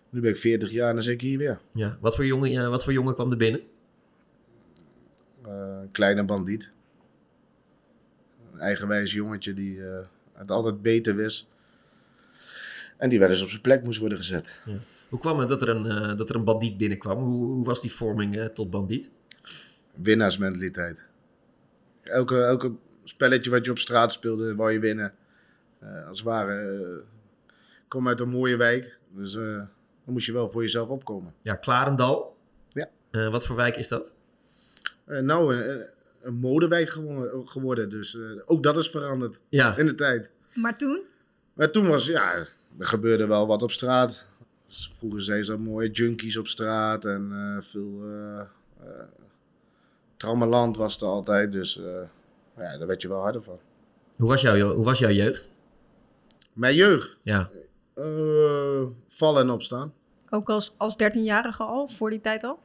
Speaker 6: nu ben ik 40 jaar en dan zit ik hier weer.
Speaker 1: Ja. Wat, voor jongen, ja, wat voor jongen kwam er binnen?
Speaker 6: Eh, kleine bandiet. Een eigenwijs jongetje die eh, het altijd beter wist. En die wel eens op zijn plek moest worden gezet.
Speaker 1: Hoe kwam het dat er een, eh, dat er een bandiet binnenkwam? Hoe, hoe was die vorming eh, tot bandiet?
Speaker 6: Winnaarsmentaliteit. Elke, elke spelletje wat je op straat speelde, wou je winnen. Eh, als het ware, eh, ik kom uit een mooie wijk. Dus eh, dan moest je wel voor jezelf opkomen.
Speaker 1: Ja, Klarendal.
Speaker 6: Ja.
Speaker 1: Eh, wat voor wijk is dat?
Speaker 6: Eh, nou, eh, een modewijk gewo- geworden. Dus eh, ook dat is veranderd
Speaker 1: Ja.
Speaker 6: in de tijd.
Speaker 2: Maar toen,
Speaker 6: Maar toen was, ja, er gebeurde wel wat op straat. Dus Vroeger zeiden ze dat mooie junkies op straat en eh, veel eh eh, trammeland was er altijd. Dus eh, ja, daar werd je wel harder van.
Speaker 1: Hoe was, jouw, hoe was jouw jeugd?
Speaker 6: Mijn jeugd.
Speaker 1: Ja.
Speaker 6: eh, vallen en opstaan.
Speaker 2: ook als, als 13-jarige al, voor die tijd al.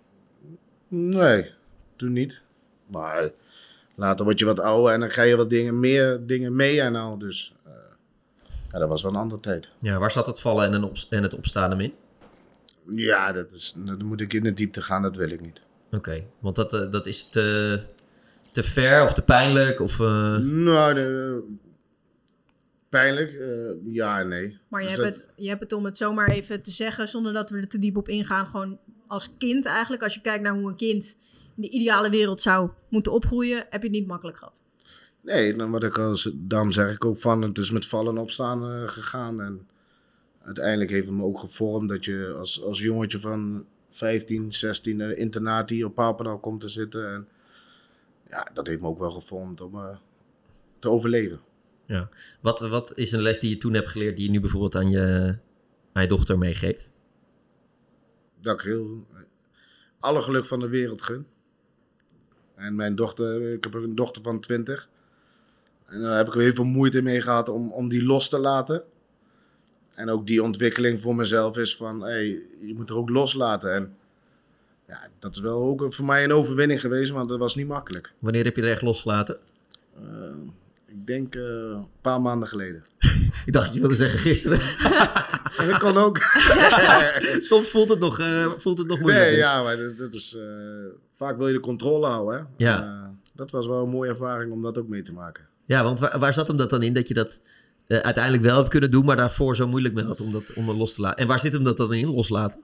Speaker 6: Nee, toen niet. Maar later word je wat ouder en dan ga je wat dingen, meer dingen mee en al. Dus eh, ja, dat was wel een andere tijd.
Speaker 1: ja. Waar zat het vallen en, een ops- en het opstaan hem in?
Speaker 6: Ja, dat is, dan moet ik in de diepte gaan, dat wil ik niet.
Speaker 1: Oké, want dat, eh, dat is te, te ver of te pijnlijk of... eh,
Speaker 6: Nou, de- pijnlijk? eh, ja en nee.
Speaker 2: Maar je,
Speaker 6: Dus
Speaker 2: hebt
Speaker 6: dat-
Speaker 2: het, je hebt het om het zomaar even te zeggen, zonder dat we er te diep op ingaan. Gewoon als kind eigenlijk, als je kijkt naar hoe een kind de ideale wereld zou moeten opgroeien, heb je het niet makkelijk gehad.
Speaker 6: Nee, dan wat ik als daarom zeg ik ook van, het is met vallen en opstaan eh, gegaan. En uiteindelijk heeft het me ook gevormd dat je als, als jongetje van 15, 16 eh, internaat hier op Papendal komt te zitten. En ja, dat heeft me ook wel gevormd om eh, te overleven.
Speaker 1: Wat, wat is een les die je toen hebt geleerd die je nu bijvoorbeeld aan je, aan je dochter meegeeft?
Speaker 6: Dat ik heel alle geluk van de wereld gun. En mijn dochter, ik heb een dochter van 20. En daar heb ik heel veel moeite mee gehad om, om die los te laten. En ook die ontwikkeling voor mezelf is van, hey, je moet er ook loslaten. En ja, dat is wel ook voor mij een overwinning geweest, want dat was niet makkelijk.
Speaker 1: Wanneer heb je er echt losgelaten?
Speaker 6: Eh, ik denk eh, een paar maanden geleden.
Speaker 1: Ik dacht, je wilde zeggen gisteren.
Speaker 6: En dat kan ook.
Speaker 1: Soms voelt het nog, eh, voelt het nog moeilijk.
Speaker 6: nee,
Speaker 1: dus.
Speaker 6: ja, maar dat, dat is, eh, vaak wil je de controle houden. Hè?
Speaker 1: Ja.
Speaker 6: Eh, dat was wel een mooie ervaring om dat ook mee te maken.
Speaker 1: Ja, want waar, waar zat hem dat dan in dat je dat eh, uiteindelijk wel hebt kunnen doen, maar daarvoor zo moeilijk mee had om dat om dat los te laten? En waar zit hem dat dan in, loslaten?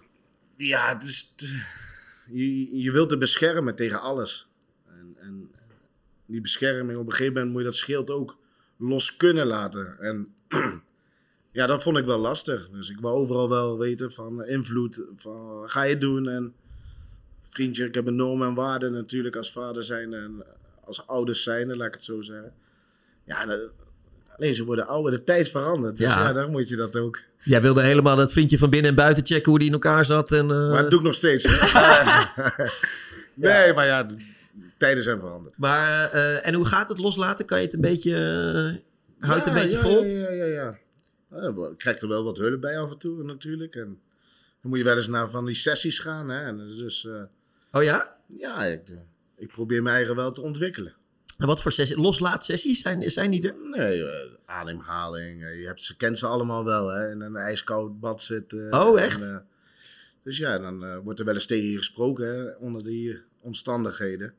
Speaker 6: Ja, het is t- je, je wilt het beschermen tegen alles. En, en die bescherming, op een gegeven moment moet je dat schild ook los kunnen laten. En ja, dat vond ik wel lastig. Dus ik wou overal wel weten van eh, invloed, van wat ga je doen? En vriendje, ik heb een normen en waarden natuurlijk als vader zijn en als ouders zijnde, laat ik het zo zeggen. Ja, en, eh, alleen ze worden ouder, de tijd verandert. Dus
Speaker 1: Ja.
Speaker 6: ja, dan moet je dat ook.
Speaker 1: Jij wilde helemaal dat vriendje van binnen en buiten checken hoe die in elkaar zat. En, eh,
Speaker 6: Maar
Speaker 1: maar
Speaker 6: dat doe ik nog steeds. Eh, nee, maar ja, de tijden zijn veranderd.
Speaker 1: eh, en hoe gaat het loslaten? Kan je het een beetje. eh, houdt het
Speaker 6: Ja,
Speaker 1: een beetje
Speaker 6: ja,
Speaker 1: vol?
Speaker 6: Ja, ja, ja. ja. Eh, maar Ik krijg er wel wat hulp bij af en toe natuurlijk. En dan moet je wel eens naar van die sessies gaan. Hè? En dus eh,
Speaker 1: Oh ja?
Speaker 6: ja, ik, eh, ik probeer mijn eigen wel te ontwikkelen.
Speaker 1: En wat voor sessie, loslaatsessies zijn, zijn die er?
Speaker 6: Nee, eh, ademhaling. eh, Je hebt, ze kent ze allemaal wel. Hè? In een ijskoud bad zitten.
Speaker 1: Oh,
Speaker 6: En,
Speaker 1: echt?
Speaker 6: eh, dus ja, dan eh, wordt er wel eens tegen je gesproken hè, onder die omstandigheden.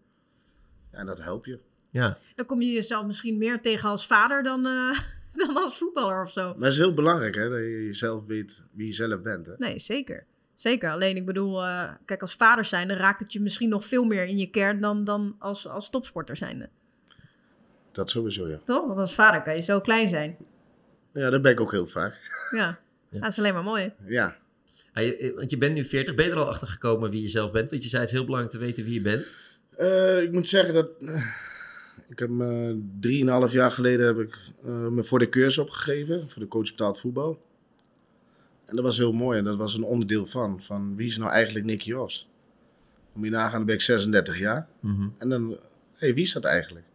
Speaker 6: Ja, en dat helpt je.
Speaker 1: Ja.
Speaker 2: Dan kom je jezelf misschien meer tegen als vader dan, eh, dan als voetballer of zo.
Speaker 6: Maar het is heel belangrijk hè, dat je zelf weet wie je zelf bent. Hè?
Speaker 2: Nee, zeker. Zeker. Alleen ik bedoel, eh, kijk, als vader zijnde raakt het je misschien nog veel meer in je kern dan, dan als, als topsporter zijnde.
Speaker 6: Dat sowieso, ja.
Speaker 2: Toch? Want als vader kan je zo klein zijn.
Speaker 6: Ja, dat ben ik ook heel vaak.
Speaker 2: Ja,
Speaker 1: Ja.
Speaker 2: dat is alleen maar mooi.
Speaker 6: Ja,
Speaker 1: Ah, je- eh, want je bent nu 40. Ben je er al achter gekomen wie je zelf bent? Want je zei het is heel belangrijk te weten wie je bent.
Speaker 6: Eh, ik moet zeggen dat... eh, ik heb eh, drieënhalf jaar geleden heb ik, eh, me voor de cursus opgegeven. Voor de coach betaald voetbal. En dat was heel mooi. En dat was een onderdeel van. Van wie is nou eigenlijk Nicky Os? Om je nagaan, dan ben ik 36 jaar. En dan, hé, wie is dat eigenlijk?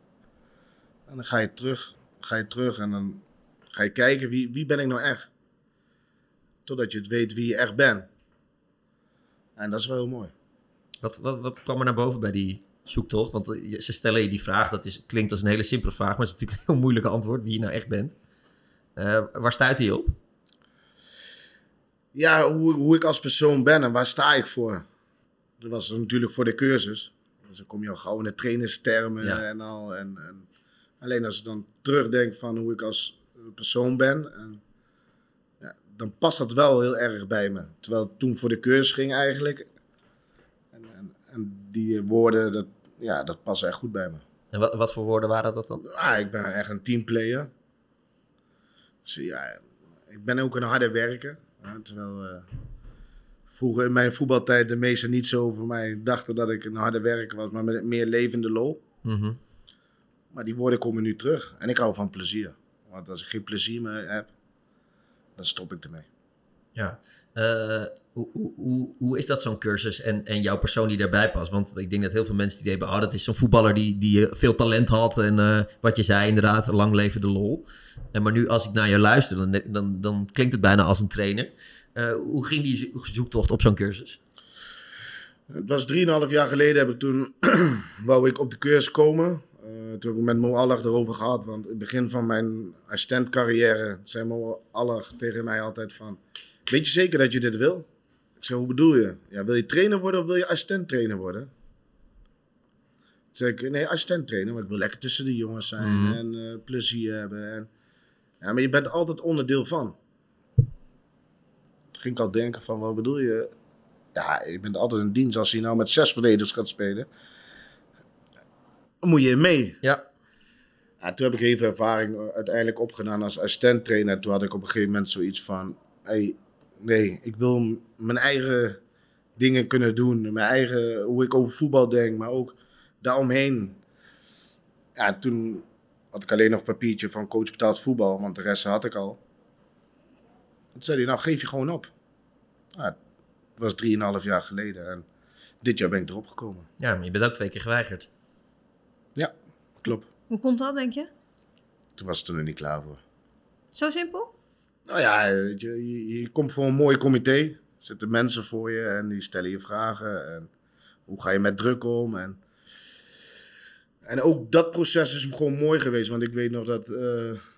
Speaker 6: En dan ga je terug, ga je terug en dan ga je kijken, wie, wie ben ik nou echt? Totdat je het weet wie je echt bent. En dat is wel heel mooi.
Speaker 1: Wat, wat, wat kwam er naar boven bij die zoektocht? Want eh, je- ze stellen je die vraag, dat is, klinkt als een hele simpele vraag, maar het is natuurlijk een heel moeilijke antwoord, wie je nou echt bent. Eh, waar stuit hij op?
Speaker 6: Ja, hoe, hoe ik als persoon ben en waar sta ik voor? Dat was natuurlijk voor de cursus. Dus dan kom je al gauw in de trainerstermen
Speaker 1: Ja.
Speaker 6: en al. En, en alleen als ik dan terugdenk van hoe ik als persoon ben, en, ja, dan past dat wel heel erg bij me. Terwijl het toen voor de cursus ging eigenlijk. En, en, en die woorden, dat, ja, dat past echt goed bij me.
Speaker 1: En wat, wat voor woorden waren dat dan?
Speaker 6: Ah, ik ben echt een teamplayer. Dus ja, ik ben ook een harde werker. hè, terwijl eh, vroeger in mijn voetbaltijd de meesten niet zo over mij dachten dat ik een harde werker was, maar met meer levende lol.
Speaker 1: Mhm.
Speaker 6: Maar die woorden komen nu terug. En ik hou van plezier. Want als ik geen plezier meer heb, dan stop ik ermee.
Speaker 1: Ja. Eh, hoe, hoe, hoe, hoe is dat zo'n cursus en, en jouw persoon die daarbij past? Want ik denk dat heel veel mensen die hebben, oh, dat is zo'n voetballer die, die eh, veel talent had en eh, wat je zei, inderdaad, lang leven de lol. En maar nu als ik naar je luister, dan, dan, dan klinkt het bijna als een trainer. Eh, hoe ging die zo- zoektocht op zo'n cursus?
Speaker 6: Het was 3,5 jaar geleden heb ik toen, wou ik op de cursus komen. Eh, toen heb ik met Mo Allag erover gehad. Want in het begin van mijn assistentcarrière zei Mo Allag tegen mij altijd van... Weet je zeker dat je dit wil? Ik zei, hoe bedoel je? Ja, wil je trainer worden of wil je assistent trainer worden? Toen zei ik, nee, assistent trainer. Maar ik wil lekker tussen de jongens zijn
Speaker 1: Mhm.
Speaker 6: en eh, plezier hebben. En, ja, maar je bent altijd onderdeel van. Toen ging ik al denken van, wat bedoel je? Ja, je bent altijd in dienst als hij nou met zes verdedigers gaat spelen. moet je in mee.
Speaker 1: Ja.
Speaker 6: Ja, toen heb ik heel veel ervaring eh, uiteindelijk opgedaan als assistent trainer. Toen had ik op een gegeven moment zoiets van: hey, nee, ik wil m- mijn eigen dingen kunnen doen. Mijn eigen, hoe ik over voetbal denk, maar ook daaromheen. Ja, toen had ik alleen nog papiertje van coach betaald voetbal, want de rest had ik al. Toen zei hij: Nou, geef je gewoon op. Ja, het was 3,5 jaar geleden en dit jaar ben ik erop gekomen.
Speaker 1: ja, maar je bent ook twee keer geweigerd.
Speaker 6: Klopt.
Speaker 2: Hoe komt dat, denk je?
Speaker 6: Toen was het er nog niet klaar voor.
Speaker 2: Zo simpel?
Speaker 6: Nou ja, weet je, je, je komt voor een mooi comité. Er zitten mensen voor je en die stellen je vragen. En hoe ga je met druk om? En, en ook dat proces is gewoon mooi geweest. Want ik weet nog dat eh,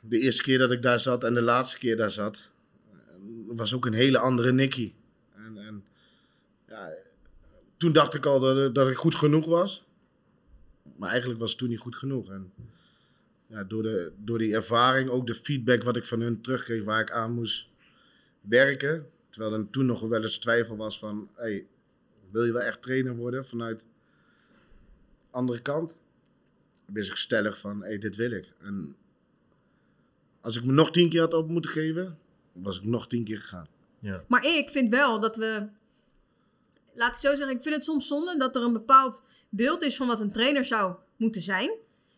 Speaker 6: de eerste keer dat ik daar zat en de laatste keer daar zat, eh, was ook een hele andere Nicky. En, en ja, toen dacht ik al dat, dat ik goed genoeg was. Maar eigenlijk was het toen niet goed genoeg. En ja, door, de, door die ervaring, ook de feedback wat ik van hun terugkreeg, waar ik aan moest werken. Terwijl er toen nog wel eens twijfel was van, hey, wil je wel echt trainer worden vanuit andere kant? Wist ik stellig van, hey, dit wil ik. En als ik me nog tien keer had op moeten geven, was ik nog tien keer gegaan.
Speaker 2: Maar ik vind wel dat we. Laat ik zo zeggen, ik vind het soms zonde dat er een bepaald beeld is van wat een trainer zou moeten zijn.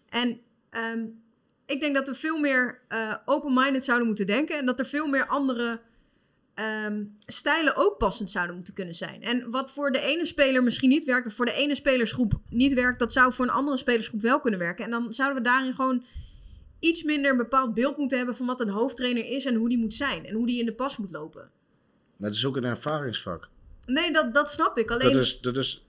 Speaker 2: En ehm, ik denk dat we veel meer eh, open-minded zouden moeten denken. En dat er veel meer andere ehm, stijlen ook passend zouden moeten kunnen zijn. En wat voor de ene speler misschien niet werkt, of voor de ene spelersgroep niet werkt, dat zou voor een andere spelersgroep wel kunnen werken. En dan zouden we daarin gewoon iets minder een bepaald beeld moeten hebben van wat een hoofdtrainer is en hoe die moet zijn. En hoe die in de pas moet lopen.
Speaker 6: Maar het is ook een ervaringsvak.
Speaker 2: Nee, dat, dat snap ik. Alleen,
Speaker 6: Dat is, dat is...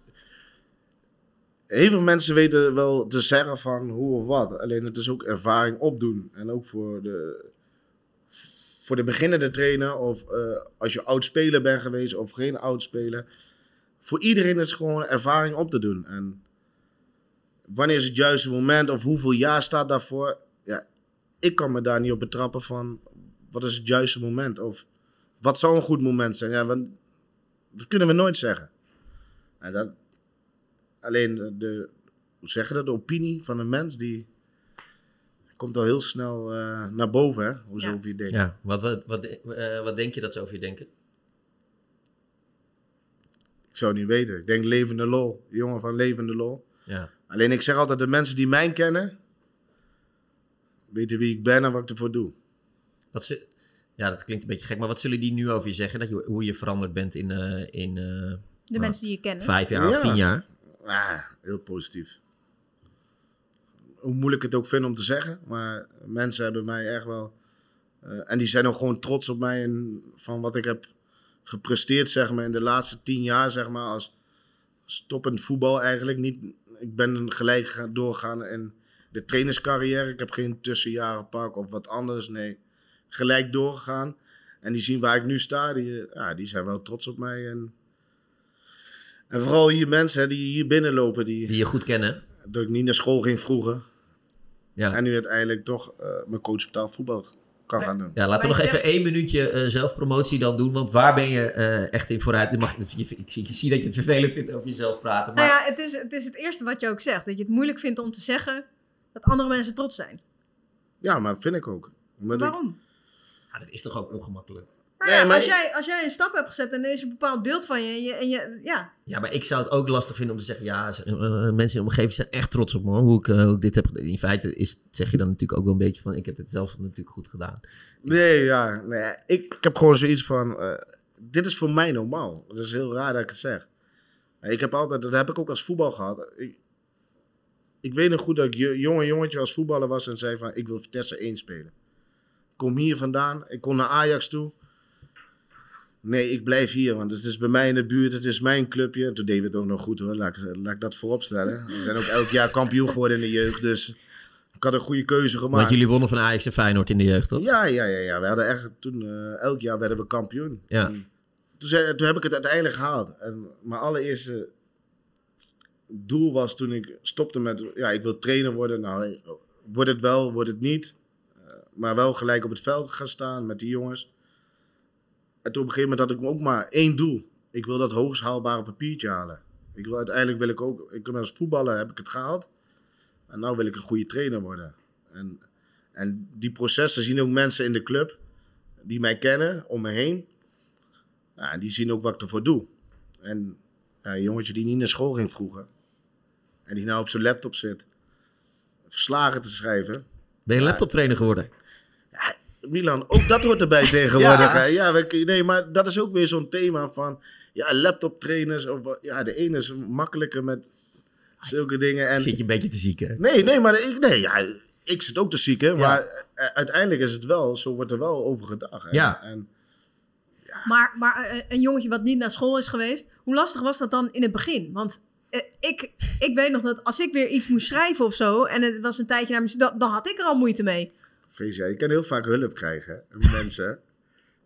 Speaker 6: Heel veel mensen weten wel te zeggen van hoe of wat. Alleen het is ook ervaring opdoen. En ook voor de, voor de beginnende trainer of eh, als je oud speler bent geweest of geen oud speler. Voor iedereen is gewoon ervaring op te doen. En wanneer is het juiste moment of hoeveel jaar staat daarvoor? Ja, ik kan me daar niet op betrappen van wat is het juiste moment of wat zou een goed moment zijn. Ja, want dat kunnen we nooit zeggen. En dat, alleen de, de- hoe zeg je dat, de opinie van een mens, die komt al heel snel eh, naar boven, hè? hoe ze
Speaker 2: Ja.
Speaker 6: over je denken.
Speaker 1: Ja, wat, wat, wat, eh, wat denk je dat ze over je denken?
Speaker 6: Ik zou het niet weten. Ik denk levende lol, jongen van levende lol.
Speaker 1: Ja.
Speaker 6: Alleen ik zeg altijd, de mensen die mij kennen, weten wie ik ben en wat ik ervoor doe.
Speaker 1: Wat ze, ja, dat klinkt een beetje gek, maar wat zullen die nu over je zeggen? Dat je, hoe je veranderd bent in, eh, in eh,
Speaker 2: de
Speaker 1: Ja.
Speaker 2: mensen die je kent.
Speaker 1: vijf jaar of
Speaker 6: Ja.
Speaker 1: tien jaar?
Speaker 6: Ah, heel positief. Hoe moeilijk ik het ook vind om te zeggen, maar mensen hebben mij echt wel. eh, en die zijn ook gewoon trots op mij en van wat ik heb gepresteerd, zeg maar, in de laatste tien jaar, zeg maar, als stoppend voetbal eigenlijk. Niet, ik ben gelijk gaan- doorgaan in de trainerscarrière. Ik heb geen tussenjarenpak of wat anders, nee. Gelijk doorgegaan. En die zien waar ik nu sta, die, eh, ja, die zijn wel trots op mij. En, en vooral hier mensen hè, die hier binnenlopen, die,
Speaker 1: Die je goed kennen?
Speaker 6: dat ik niet naar school ging vroeger.
Speaker 1: Ja.
Speaker 6: En nu uiteindelijk toch eh, mijn coach betaald voetbal kan gaan doen.
Speaker 1: Ja, laten we
Speaker 2: Maar
Speaker 1: nog
Speaker 2: je
Speaker 1: even één minuutje eh, zelfpromotie dan doen. Want waar ben je eh, echt in vooruit? Je mag, je- ik, zie, ik zie dat je het vervelend vindt over jezelf praten. Maar
Speaker 2: Nou ja, het is, het is het eerste wat je ook zegt. Dat je het moeilijk vindt om te zeggen dat andere mensen trots zijn.
Speaker 6: Ja, maar vind ik ook. Omdat ik,
Speaker 2: Waarom?
Speaker 1: Ah, dat is toch ook ongemakkelijk?
Speaker 2: Maar
Speaker 6: Nee,
Speaker 2: ja,
Speaker 6: maar
Speaker 2: als,
Speaker 6: ik-
Speaker 2: jij, als jij een stap hebt gezet en er is een bepaald beeld van je. En je, en je ja.
Speaker 1: Ja, maar ik zou het ook lastig vinden om te zeggen... ja, ze- eh, eh, mensen in de omgeving zijn echt trots op me, hoor, hoe ik, eh, hoe ik dit heb gedaan. In feite is, zeg je dan natuurlijk ook wel een beetje van... ik heb het zelf natuurlijk goed gedaan.
Speaker 6: nee, ja, nee, ik, ik heb gewoon zoiets van, eh, dit is voor mij normaal. Dat is heel raar dat ik het zeg. Maar Ik heb altijd, dat heb ik ook als voetbal gehad. Ik, ik weet nog goed dat ik jo- jonge jongetje als voetballer was en zei van, ik wil Vitesse 1 spelen. Ik kom hier vandaan, ik kon naar Ajax toe. Nee, ik blijf hier, want het is bij mij in de buurt, het is mijn clubje. Toen deden we het ook nog goed hoor, laat ik, laat ik dat vooropstellen. We zijn ook elk jaar kampioen geworden in de jeugd, dus ik had een goede keuze gemaakt.
Speaker 1: Want jullie wonnen van Ajax en Feyenoord in de jeugd, toch?
Speaker 6: Ja, ja, ja, ja. We hadden echt, toen, eh, elk jaar werden we kampioen.
Speaker 1: Ja.
Speaker 6: En Mm. Toen, zei- toen heb ik het uiteindelijk gehaald. En mijn allereerste doel was toen ik stopte met, ja, ik wil trainer worden. Nou, eh, wordt het wel, wordt het niet. Eh, maar wel gelijk op het veld gaan staan met die jongens. En toen op een gegeven moment had ik ook maar één doel. Ik wil dat hoogst haalbare papiertje halen. Ik wil, uiteindelijk wil ik ook, ik, ben als voetballer heb ik het gehaald. En nou wil ik een goede trainer worden. En, en die processen zien ook mensen in de club die mij kennen, om me heen. Ja, en Nou, die zien ook wat ik ervoor doe. En ja, een jongetje die niet naar school ging vroeger. En die nou op zijn laptop zit. Verslagen te schrijven.
Speaker 1: Ben je laptoptrainer geworden?
Speaker 6: Milan, ook dat hoort erbij tegenwoordig.
Speaker 1: Ja.
Speaker 6: hè. Ja, we- nee, maar dat is ook weer zo'n thema van ja, laptoptrainers. Of, wat- ja, de ene is makkelijker met zulke dingen. En,
Speaker 1: Ah, Zit je een beetje te zieken?
Speaker 6: Nee, nee, maar ik, nee, ja, ik zit ook te ziek, hè,
Speaker 1: Ja.
Speaker 6: maar eh, uiteindelijk is het wel, zo wordt er wel over gedacht. hè.
Speaker 1: Ja.
Speaker 6: En,
Speaker 2: Maar, maar eh, een jongetje wat niet naar school is geweest, hoe lastig was dat dan in het begin? Want eh, ik, ik weet nog dat als ik weer iets moest schrijven of zo, en het was een tijdje naar mijn dan, dan had ik er al moeite mee.
Speaker 6: vrees jij, je kan heel vaak hulp krijgen, hè, mensen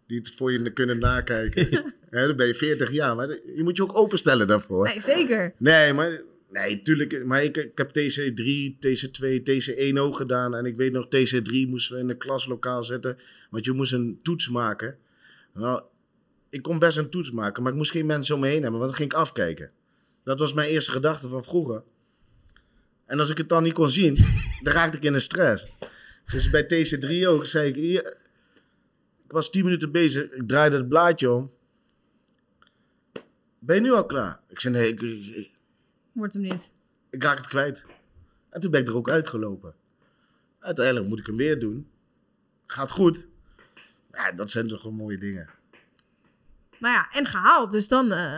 Speaker 6: die het voor je kunnen nakijken. hè, dan ben je 40 jaar, maar je moet je ook openstellen daarvoor.
Speaker 2: Nee, zeker.
Speaker 6: Nee, maar. Nee, tuurlijk. Maar ik, ik heb TC3, TC2, TC1 ook gedaan. En ik weet nog, TC3 moesten we in een klaslokaal zetten. Want je moest een toets maken. Nou, ik kon best een toets maken, maar ik moest geen mensen om me heen hebben. Want dan ging ik afkijken. Dat was mijn eerste gedachte van vroeger. En als ik het dan niet kon zien, dan raakte ik in de stress. Dus bij TC3 ook zei ik... hier- ik was 10 minuten bezig, ik draaide het blaadje om. Ben je nu al klaar? Ik zei, nee, ik- ik, ik-
Speaker 2: Wordt hem niet.
Speaker 6: ik raak het kwijt. En toen ben ik er ook uitgelopen. Uiteindelijk moet ik hem weer doen. Gaat goed. Ja, dat zijn toch wel mooie dingen.
Speaker 2: Nou ja, en gehaald. Dus dan, eh,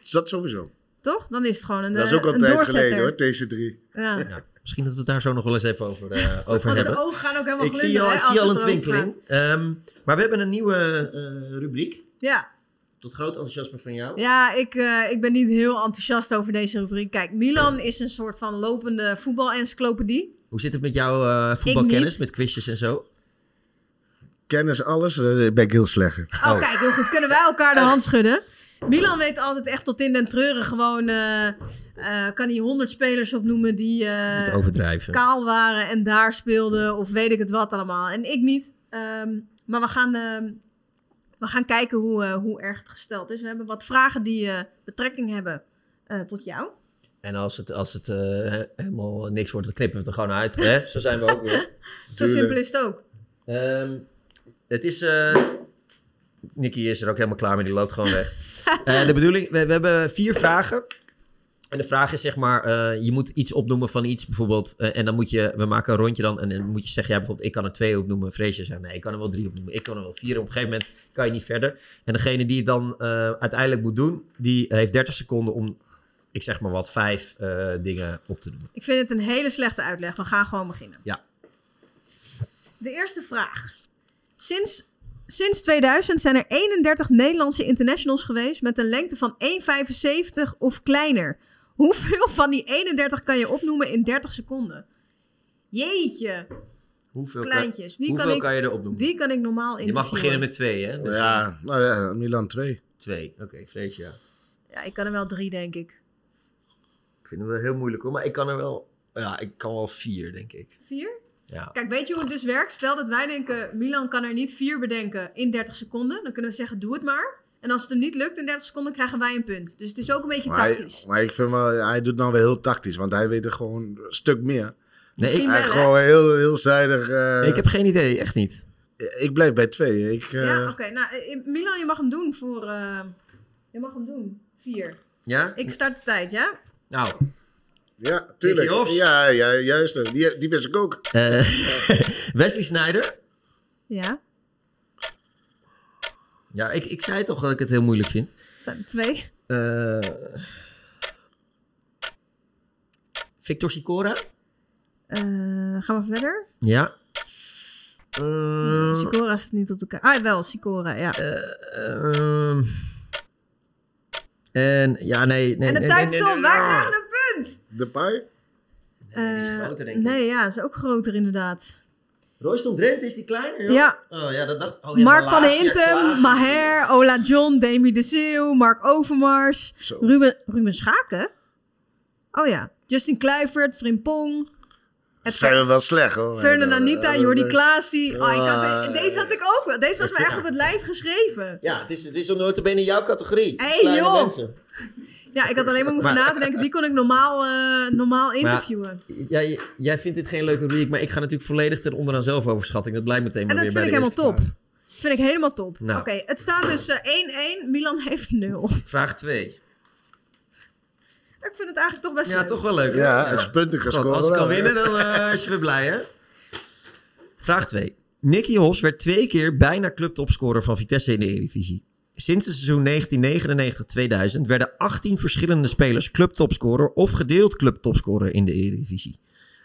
Speaker 6: Dus dat sowieso.
Speaker 2: toch? Dan is het gewoon een,
Speaker 6: dat is
Speaker 2: eh,
Speaker 6: ook al
Speaker 2: een
Speaker 6: een tijd
Speaker 2: doorzetter.
Speaker 6: geleden hoor, TC3.
Speaker 2: Ja.
Speaker 1: Ja, misschien dat we het daar zo nog wel eens even over, eh, over
Speaker 2: Want zijn
Speaker 1: hebben.
Speaker 2: ogen gaan ook helemaal
Speaker 1: Ik
Speaker 2: glunderen.
Speaker 1: zie al,
Speaker 2: hè,
Speaker 1: ik
Speaker 2: als
Speaker 1: zie al
Speaker 2: het
Speaker 1: een
Speaker 2: erover
Speaker 1: twinkeling.
Speaker 2: gaat.
Speaker 1: Ehm, maar we hebben een nieuwe eh, rubriek.
Speaker 2: Ja,
Speaker 1: Tot groot enthousiasme van jou.
Speaker 2: ja ik, eh, ik ben niet heel enthousiast over deze rubriek. Kijk, Milan is een soort van lopende voetbalencyclopedie.
Speaker 1: Hoe zit het met jouw eh, voetbalkennis,
Speaker 2: niet.
Speaker 1: met quizjes en zo?
Speaker 6: Kennis alles, eh, daar ben ik heel slecht in.
Speaker 2: Oh,
Speaker 1: Oh.
Speaker 2: kijk, heel goed. Kunnen wij elkaar de hand schudden? Milan weet altijd echt tot in den treuren gewoon... eh, eh, kan hij honderd spelers opnoemen die eh,
Speaker 1: Niet overdrijven.
Speaker 2: kaal waren en daar speelden. Of weet ik het wat allemaal. En ik niet. Ehm, maar we gaan, ehm, we gaan kijken hoe, eh, hoe erg het gesteld is. We hebben wat vragen die eh, betrekking hebben eh, tot jou.
Speaker 1: En als het, als het eh, he- helemaal niks wordt, dan knippen we het er gewoon uit. Hè? Zo zijn we ook weer.
Speaker 2: Zo simpel is het ook.
Speaker 1: Ehm, het is... eh Nicky is er ook helemaal klaar mee, die loopt gewoon weg. Eh, de bedoeling, we, we hebben vier vragen. En de vraag is zeg maar, eh, je moet iets opnoemen van iets bijvoorbeeld. eh, en dan moet je, we maken een rondje dan. En dan moet je zeggen, ja, bijvoorbeeld, ik kan er twee opnoemen. Freesje zegt, nee, ik kan er wel drie opnoemen. Ik kan er wel vier. Op een gegeven moment kan je niet verder. En degene die het dan eh, uiteindelijk moet doen, die heeft 30 seconden om, ik zeg maar wat, vijf eh, dingen op te doen.
Speaker 2: Ik vind het een hele slechte uitleg. We gaan gewoon beginnen.
Speaker 1: Ja.
Speaker 2: De eerste vraag. Sinds, sinds 2000 zijn er 31 Nederlandse internationals geweest met een lengte van 1,75 of kleiner. Hoeveel van die 31 kan je opnoemen in 30 seconden? Jeetje,
Speaker 1: Hoeveel,
Speaker 2: kleintjes. Wie
Speaker 1: hoeveel
Speaker 2: kan,
Speaker 1: kan,
Speaker 2: ik,
Speaker 1: je er opnoemen?
Speaker 2: wie kan ik normaal
Speaker 1: Je
Speaker 2: interviewen?
Speaker 1: mag beginnen met twee, hè? Dus
Speaker 6: Ja, nou ja, Milan 2.
Speaker 1: Twee. Oké, Freesje, ja.
Speaker 2: Ja, ik kan er wel drie, denk ik.
Speaker 1: Ik vind hem wel heel moeilijk hoor, maar ik kan er wel. Ja, ik kan wel vier, denk ik.
Speaker 2: Vier?
Speaker 1: Ja.
Speaker 2: Kijk, weet je hoe het dus werkt? Stel dat wij denken, Milan kan er niet vier bedenken in 30 seconden. Dan kunnen we zeggen, doe het maar. En als het hem niet lukt in 30 seconden, krijgen wij een punt. Dus het is ook een beetje
Speaker 6: Maar, hij-
Speaker 2: tactisch.
Speaker 6: maar ik vind wel, hij doet nou wel heel tactisch, want hij weet er gewoon een stuk meer.
Speaker 1: Nee,
Speaker 2: Misschien
Speaker 1: ik,
Speaker 2: wel,
Speaker 6: Hij
Speaker 2: hè?
Speaker 6: gewoon heel, heel zijdig. eh,
Speaker 1: ik heb geen idee, echt niet.
Speaker 6: ik blijf bij 2. Ik, eh,
Speaker 2: Ja, oké. Nou, eh, Milan, je mag hem doen voor... eh, je mag hem doen. Vier.
Speaker 1: Ja?
Speaker 2: Ik start de tijd, ja?
Speaker 1: Nou,
Speaker 6: ja, tuurlijk.
Speaker 1: Nicky Hofs.
Speaker 6: Ja, ja, juist. Die, die wist ik ook.
Speaker 1: eh, Wesley Snyder.
Speaker 2: Ja.
Speaker 1: Ja, ik, ik zei toch dat ik het heel moeilijk vind.
Speaker 2: Zijn er twee.
Speaker 1: Eh, Victor Sicora.
Speaker 2: Eh, gaan we verder?
Speaker 1: Ja. Eh,
Speaker 2: Sicora staat niet op de kaart. Ah, wel. Sicora, ja.
Speaker 1: ehm, en ja, nee. nee
Speaker 2: en de
Speaker 1: nee,
Speaker 2: tijd
Speaker 1: nee,
Speaker 2: is
Speaker 1: nee,
Speaker 2: om.
Speaker 1: nee,
Speaker 2: Wij
Speaker 1: nee.
Speaker 2: krijgen een punt!
Speaker 6: De paai.
Speaker 1: Nee, eh, die is
Speaker 2: Eh,
Speaker 1: groter, denk ik.
Speaker 2: Nee, ja. Is ook groter, inderdaad.
Speaker 1: Royston Drenthe is die kleiner, joh?
Speaker 2: Ja.
Speaker 1: Oh ja, dat dacht oh, ja,
Speaker 2: Mark van
Speaker 1: Malasia, Klaas.
Speaker 2: Hintem, Maher, Ola John, Demi de Zeeuw, Mark Overmars,
Speaker 6: Zo.
Speaker 2: Ruben, Ruben Schaken. Oh ja, Justin Kluivert, Frimpong,
Speaker 6: Het zijn we wel slecht
Speaker 1: Oh,
Speaker 6: hoor. Eh,
Speaker 2: Fernanda Anita, Jordi Klaasie. Oh, ik had,
Speaker 6: Ah.
Speaker 2: deze had ik ook wel. Deze was me echt op het lijf geschreven.
Speaker 1: Ja, het is, het is bene in jouw categorie.
Speaker 2: Hey,
Speaker 1: Kleine
Speaker 2: joh.
Speaker 1: mensen.
Speaker 2: Ja, ik had alleen maar hoeven
Speaker 1: Maar-
Speaker 2: na te denken. Wie kon ik normaal, eh, normaal interviewen?
Speaker 1: Jij, jij vindt dit geen leuke rubriek, maar ik ga natuurlijk volledig ten onder aan zelfoverschatting. Dat blijkt meteen maar
Speaker 2: en dat
Speaker 1: weer
Speaker 2: vind
Speaker 1: bij
Speaker 2: ik
Speaker 1: de
Speaker 2: helemaal
Speaker 1: eerste
Speaker 2: top. Vind ik helemaal top.
Speaker 1: Nou.
Speaker 2: Oké, het staat dus eh, 1-1. Milan heeft 0.
Speaker 1: Vraag, vraag 2.
Speaker 2: ik vind het eigenlijk toch best
Speaker 1: Ja,
Speaker 2: leuk.
Speaker 1: toch wel leuk. hè?
Speaker 6: Ja, het is punten kan
Speaker 1: God,
Speaker 6: scoren
Speaker 1: als ik
Speaker 6: wel,
Speaker 1: kan
Speaker 6: hè?
Speaker 1: winnen, dan eh, is je weer blij, hè? Vraag 2. Nicky Hofs werd twee keer bijna clubtopscorer van Vitesse in de Eredivisie. Sinds het seizoen 1999-2000 werden 18 verschillende spelers clubtopscorer of gedeeld clubtopscorer in de Eredivisie.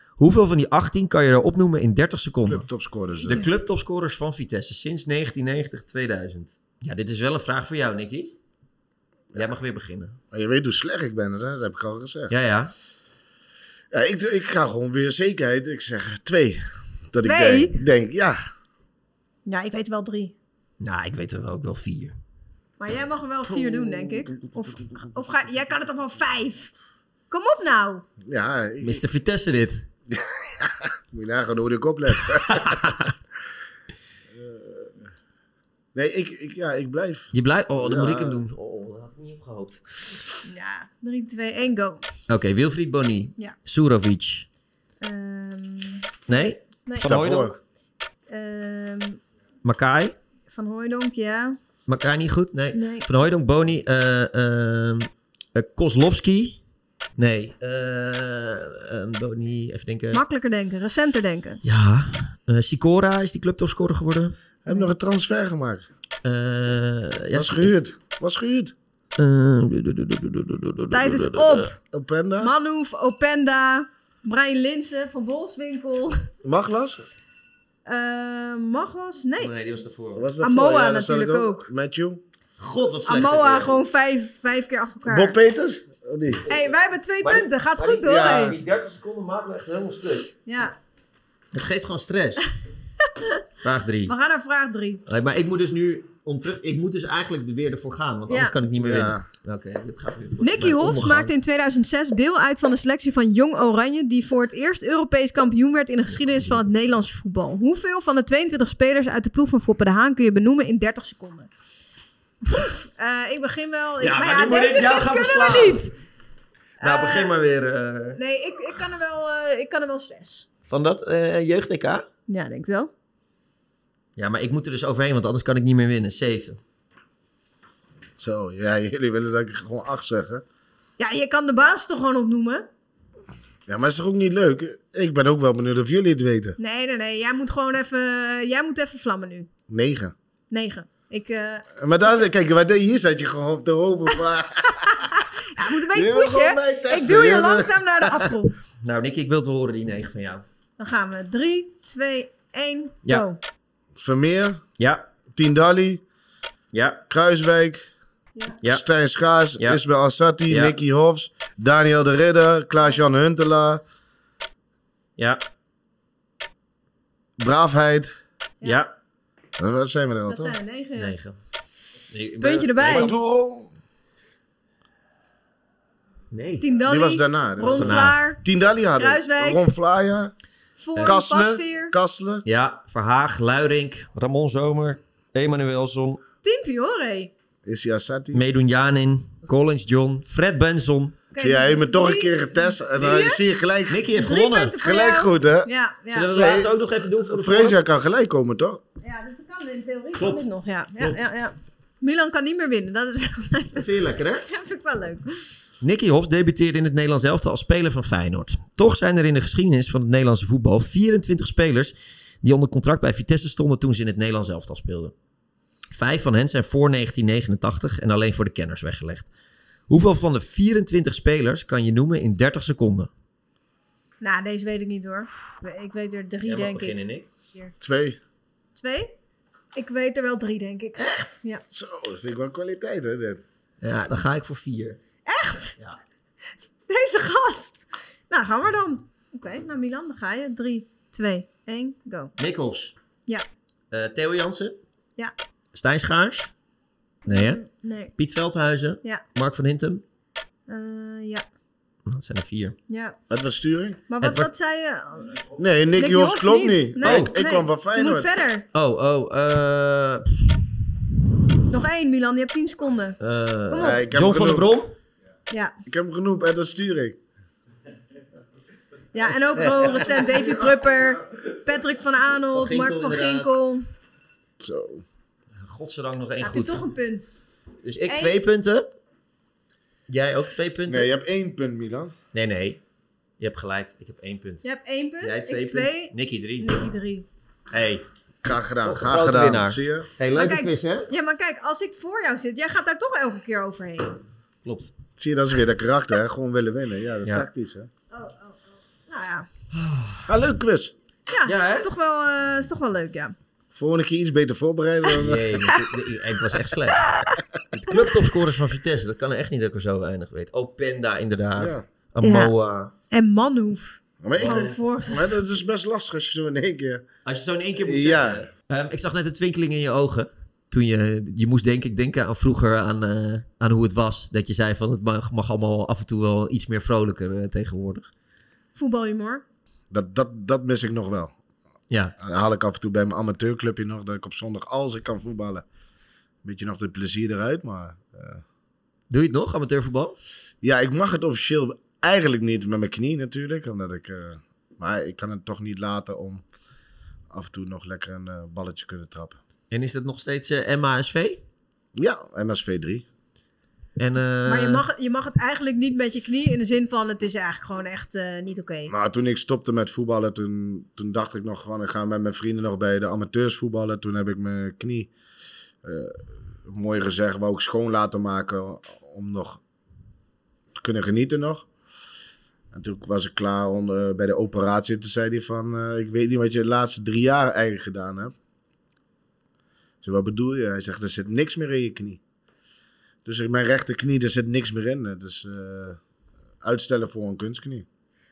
Speaker 1: Hoeveel van die 18 kan je er opnoemen in 30 seconden?
Speaker 6: Club eh, topscorers.
Speaker 1: De clubtopscorers van Vitesse sinds 1990-2000. Ja, dit is wel een vraag voor jou, Nicky. Jij mag weer beginnen.
Speaker 6: Maar je weet hoe slecht ik ben, hè? dat heb ik al gezegd. Ja.
Speaker 1: Ja, ja.
Speaker 6: ik, ik ga gewoon weer zekerheid. Ik zeg twee. Dat
Speaker 2: Twee?
Speaker 6: ik denk, denk, ja.
Speaker 2: Ja, ik weet wel drie.
Speaker 1: Nou, ik weet er wel ook wel vier.
Speaker 2: Maar jij mag er wel vier doen, denk ik. Of, of ga, jij kan het toch wel vijf? Kom op nou.
Speaker 6: Ja, ik,
Speaker 1: Mr. Vitesse dit.
Speaker 6: moet je nagaan hoe ik oplet. Eh, nee, ik, ik, ja, ik blijf.
Speaker 1: Je blijft... Oh, dan moet
Speaker 6: Ja.
Speaker 1: ik hem doen. Oh, dat had ik niet opgehoopt.
Speaker 2: Ja, 3, 2, 1, go.
Speaker 1: Oké, Wilfried Boni.
Speaker 2: Ja.
Speaker 1: Surovic.
Speaker 2: Ehm,
Speaker 1: Nee?
Speaker 2: nee,
Speaker 1: Van Hooijdonk.
Speaker 6: Daarvoor.
Speaker 2: ehm,
Speaker 1: Makai.
Speaker 2: van Hooijdonk, ja.
Speaker 1: Makai niet goed? Nee.
Speaker 2: Nee.
Speaker 1: Van Hooijdonk, Boni. eh ehm, eh, Kozlowski. Nee. eh, ehm, Boni, even denken.
Speaker 2: Makkelijker denken, recenter denken.
Speaker 1: ja. eh, Sikora is die clubtopscorer geworden.
Speaker 6: Heb nog een transfer gemaakt.
Speaker 1: Eh ja, eh,
Speaker 6: Was gehuurd. Was gehuurd.
Speaker 2: Tijd is op.
Speaker 6: Op Penda.
Speaker 2: Manhoef, Openda, Brian Linsen van Bolswinkel.
Speaker 6: Maglas.
Speaker 2: Eh Maglas? Nee.
Speaker 1: Nee, die was daarvoor.
Speaker 6: Was dat
Speaker 2: Amoa
Speaker 6: voor? Ja, dat zal ik
Speaker 2: natuurlijk ook.
Speaker 6: Matthew.
Speaker 1: God, wat slecht.
Speaker 2: Amoa gewoon vijf, vijf keer achter elkaar.
Speaker 6: Bob Peters. Oh, Of niet?
Speaker 2: hey, wij hebben twee
Speaker 1: Maar die-
Speaker 2: punten. Gaat
Speaker 1: maar
Speaker 2: goed
Speaker 1: die-
Speaker 2: hoor.
Speaker 6: ja.
Speaker 2: hey.
Speaker 1: 30 seconden maakt me echt helemaal stuk.
Speaker 2: ja.
Speaker 1: Het geeft gewoon stress. Vraag 3.
Speaker 2: We gaan naar vraag drie.
Speaker 1: maar ik moet dus nu om terug. Ik moet dus eigenlijk er weer ervoor gaan, want
Speaker 2: Ja.
Speaker 1: anders kan ik niet meer
Speaker 6: Ja.
Speaker 1: winnen. Oké, dit gaat weer.
Speaker 2: Nicky Hofs maakte
Speaker 1: maakt
Speaker 2: in 2006 deel uit van de selectie van Jong Oranje, die voor het eerst Europees kampioen werd in de geschiedenis van het Nederlands voetbal. Hoeveel van de 22 spelers uit de ploeg van Foppe de Haan kun je benoemen in 30 seconden? Eh, ik begin wel. Ik-
Speaker 1: Ja, maar nu moet
Speaker 2: deze
Speaker 1: ik jou
Speaker 2: dit
Speaker 1: gaan
Speaker 2: kunnen
Speaker 1: verslaan.
Speaker 2: We niet.
Speaker 1: Nou, begin maar weer. eh,
Speaker 2: Nee, ik, ik, kan er wel, eh, ik kan er wel zes.
Speaker 1: van dat eh jeugd-EK?
Speaker 2: Ja, denk ik wel.
Speaker 1: Ja, maar ik moet er dus overheen, want anders kan ik niet meer winnen. 7.
Speaker 6: Zo, ja, jullie willen dat ik gewoon acht zeg, hè?
Speaker 2: Ja, je kan de baas toch gewoon opnoemen?
Speaker 6: Ja, maar is toch ook niet leuk? Ik ben ook wel benieuwd of jullie het weten.
Speaker 2: Nee, nee, nee. Jij moet gewoon even, eh, jij moet even vlammen nu.
Speaker 6: Negen.
Speaker 2: Negen. Ik eh,
Speaker 6: Maar daar zit, kijk, waar, hier zat je gewoon op te hopen. Maar,
Speaker 2: ja, ik moet een beetje
Speaker 6: Je wil gewoon
Speaker 2: pushen.
Speaker 6: mij
Speaker 2: hè? Ik
Speaker 6: testen,
Speaker 2: duw je
Speaker 6: jongen.
Speaker 2: langzaam naar de afgrond.
Speaker 1: Nou, Nicky, ik wil het horen, die 9 van jou.
Speaker 2: Dan gaan we. 3, 2, 1,
Speaker 1: Ja.
Speaker 2: go.
Speaker 6: Vermeer,
Speaker 1: Ja,
Speaker 6: Tindalli,
Speaker 1: ja,
Speaker 6: Kruiswijk,
Speaker 1: ja.
Speaker 6: Stijn Schaars,
Speaker 1: Ja.
Speaker 6: Ismail Assati,
Speaker 1: Ja.
Speaker 6: Nicky Hofs, Daniel de Ridder, Klaas-Jan Huntelaar,
Speaker 1: Ja,
Speaker 6: Braafheid.
Speaker 1: ja.
Speaker 6: Eh, Wat zijn we er al,
Speaker 2: Dat
Speaker 6: toch?
Speaker 2: zijn er 9.
Speaker 1: 9.
Speaker 2: Puntje erbij.
Speaker 6: Maduro,
Speaker 1: Nee.
Speaker 6: die
Speaker 2: Tindalli,
Speaker 6: was daarna. die was
Speaker 2: Ron
Speaker 6: daarna.
Speaker 2: Vlaar,
Speaker 6: Tindalli hadden
Speaker 2: Kruiswijk.
Speaker 6: we. Ron Vlaar,
Speaker 2: Voor,
Speaker 6: Kastelen,
Speaker 2: Pasveer.
Speaker 6: Kastelen.
Speaker 1: Ja, Verhaag, Luirink, Ramon Zomer, Emanuelson,
Speaker 2: Team Piore.
Speaker 6: Issi Assati.
Speaker 1: Medunjanin, Collins John, Fred Benson.
Speaker 6: Zie jij hebt me toch een keer getest en
Speaker 2: dus
Speaker 6: dan
Speaker 2: Zie je?
Speaker 6: zie je gelijk,
Speaker 1: Nicky heeft
Speaker 2: Drie
Speaker 1: gewonnen.
Speaker 2: punten voor
Speaker 6: gelijk
Speaker 2: jou.
Speaker 6: goed, hè?
Speaker 2: Ja,
Speaker 1: Zullen we
Speaker 2: ja.
Speaker 1: dat laatste ook nog even doen voor de volgende?
Speaker 6: Freesia kan gelijk komen, toch?
Speaker 2: ja, dat kan in theorie. kan
Speaker 1: Klopt.
Speaker 2: dit nog, ja. Ja,
Speaker 1: Klopt.
Speaker 2: ja, ja. Milan kan niet meer winnen. Dat, is,
Speaker 1: Dat vind je lekker, hè?
Speaker 2: dat vind ik wel leuk.
Speaker 1: Nicky Hofs debuteerde in het Nederlands elftal als speler van Feyenoord. Toch zijn er in de geschiedenis van het Nederlandse voetbal 24 spelers die onder contract bij Vitesse stonden toen ze in het Nederlands elftal speelden. Vijf van hen zijn voor 1989 en alleen voor de kenners weggelegd. Hoeveel van de 24 spelers kan je noemen in 30 seconden?
Speaker 2: Nou, deze weet ik niet hoor. Ik weet er drie, denk ik.
Speaker 6: Twee.
Speaker 2: Twee? Ik weet er wel drie, denk ik. Echt? Ja.
Speaker 6: Zo, dat vind ik wel kwaliteit, hè? Dit.
Speaker 1: Ja, dan ga ik voor vier.
Speaker 2: Deze gast. Nou, gaan we dan. Oké, nou Milan, dan ga je. 3, 2, 1, go.
Speaker 1: Nick Hofs.
Speaker 2: Ja.
Speaker 1: Eh, Theo Jansen.
Speaker 2: Ja.
Speaker 1: Stijn Schaars. Nee, hè?
Speaker 2: Nee.
Speaker 1: Piet Veldhuizen.
Speaker 2: Ja.
Speaker 1: Mark van Hintem.
Speaker 2: Eh, ja.
Speaker 1: Dat zijn er vier.
Speaker 2: Ja.
Speaker 6: Wat was sturing?
Speaker 2: Maar wat,
Speaker 1: Edward-
Speaker 2: wat zei je?
Speaker 6: Nee, Nicky
Speaker 2: Nicky
Speaker 6: Hofs
Speaker 2: Hofs
Speaker 6: klopt niet.
Speaker 2: Nee,
Speaker 6: Oh, ik
Speaker 2: nee.
Speaker 6: kwam van
Speaker 2: Je moet
Speaker 6: Feyenoord.
Speaker 2: verder.
Speaker 1: Oh, oh. eh,
Speaker 2: Nog één, Milan. Je hebt 10 seconden.
Speaker 1: eh,
Speaker 2: Kom op.
Speaker 6: Ja, ik heb
Speaker 1: John
Speaker 6: hem
Speaker 1: van der
Speaker 6: genoemd.
Speaker 1: Brom.
Speaker 2: Ja.
Speaker 6: Ik heb hem genoemd en dat stuur ik.
Speaker 2: ja, en ook gewoon recent Davy Prupper, Patrick van
Speaker 1: Van
Speaker 2: Aanholt,
Speaker 1: Ginkel,
Speaker 2: Mark van
Speaker 1: inderdaad.
Speaker 2: Ginkel.
Speaker 6: Zo.
Speaker 1: Godzijdank nog één
Speaker 2: Heb je
Speaker 1: goed.
Speaker 2: toch een punt?
Speaker 1: Dus ik
Speaker 2: Eén.
Speaker 1: twee punten. Jij ook twee punten?
Speaker 6: Nee, je hebt één punt, Milan.
Speaker 1: nee, nee. Je hebt gelijk. Ik heb één punt.
Speaker 2: Je hebt één punt,
Speaker 1: Jij twee
Speaker 2: ik
Speaker 1: punten.
Speaker 2: twee,
Speaker 1: Nicky drie.
Speaker 2: Nicky drie.
Speaker 1: Hey.
Speaker 6: Graag gedaan,
Speaker 1: Toch een
Speaker 6: graag
Speaker 1: Oh, grote
Speaker 6: gedaan.
Speaker 1: winnaar.
Speaker 6: Zie je?
Speaker 5: Hey,
Speaker 2: Maar
Speaker 5: leuke
Speaker 2: kijk-
Speaker 5: quiz, hè?
Speaker 2: Ja, maar kijk, als ik voor jou zit, jij gaat daar toch elke keer overheen.
Speaker 1: Klopt.
Speaker 6: Zie je, dat is weer dat karakter, hè? Gewoon willen winnen. Ja, dat is
Speaker 1: Ja.
Speaker 6: tactisch, hè?
Speaker 2: Oh, oh, oh. Nou ja,
Speaker 6: Ah, leuk quiz.
Speaker 2: ja,
Speaker 1: Ja, hè?
Speaker 2: is, toch wel, eh, is toch wel leuk, ja.
Speaker 6: Volgende keer iets beter voorbereiden. Dan, eh,
Speaker 1: Nee, ik was echt slecht. De clubtopscorers van Vitesse, dat kan echt niet dat ik er zo weinig weet. Oh, Penda inderdaad.
Speaker 6: Ja.
Speaker 1: Amoa.
Speaker 2: En Manhoef.
Speaker 6: maar, ik-
Speaker 2: Gewoon voor.
Speaker 6: maar dat is best lastig als je zo in één keer...
Speaker 1: Als je het zo in één keer moet
Speaker 6: Ja.
Speaker 1: zeggen. Ehm, ik zag net een twinkeling in je ogen. Toen je, je moest denk ik denken aan vroeger aan, eh, aan hoe het was. Dat je zei van het mag, mag allemaal af en toe wel iets meer vrolijker eh, tegenwoordig.
Speaker 2: Voetbalhumor.
Speaker 6: Dat, dat, dat mis ik nog wel.
Speaker 1: Ja,
Speaker 6: Dan haal ik af en toe bij mijn amateurclubje nog dat ik op zondag, als ik kan voetballen, een beetje nog de plezier eruit. Maar
Speaker 1: doe je het nog, amateurvoetbal?
Speaker 6: ja, ik mag het officieel eigenlijk niet met mijn knie natuurlijk. Omdat ik, eh, maar ik kan het toch niet laten om af en toe nog lekker een eh, balletje kunnen trappen.
Speaker 1: En is dat nog steeds eh, MASV?
Speaker 6: Ja, MSV 3.
Speaker 1: En, eh,
Speaker 2: Maar je mag, je mag het eigenlijk niet met je knie in de zin van het is eigenlijk gewoon echt eh, niet oké.
Speaker 6: Nou, toen ik stopte met voetballen, toen, toen dacht ik nog van, ik ga met mijn vrienden nog bij de amateurs voetballen. Toen heb ik mijn knie, eh mooi gezegd, wou ik schoon laten maken om nog te kunnen genieten nog. En toen was ik klaar om eh, bij de operatie. Toen zei hij van, eh, ik weet niet wat je de laatste drie jaar eigenlijk gedaan hebt. Ik zei, wat bedoel je? Hij zegt, er zit niks meer in je knie. Dus in mijn rechterknie, er zit niks meer in. Het is eh, uitstellen voor een kunstknie.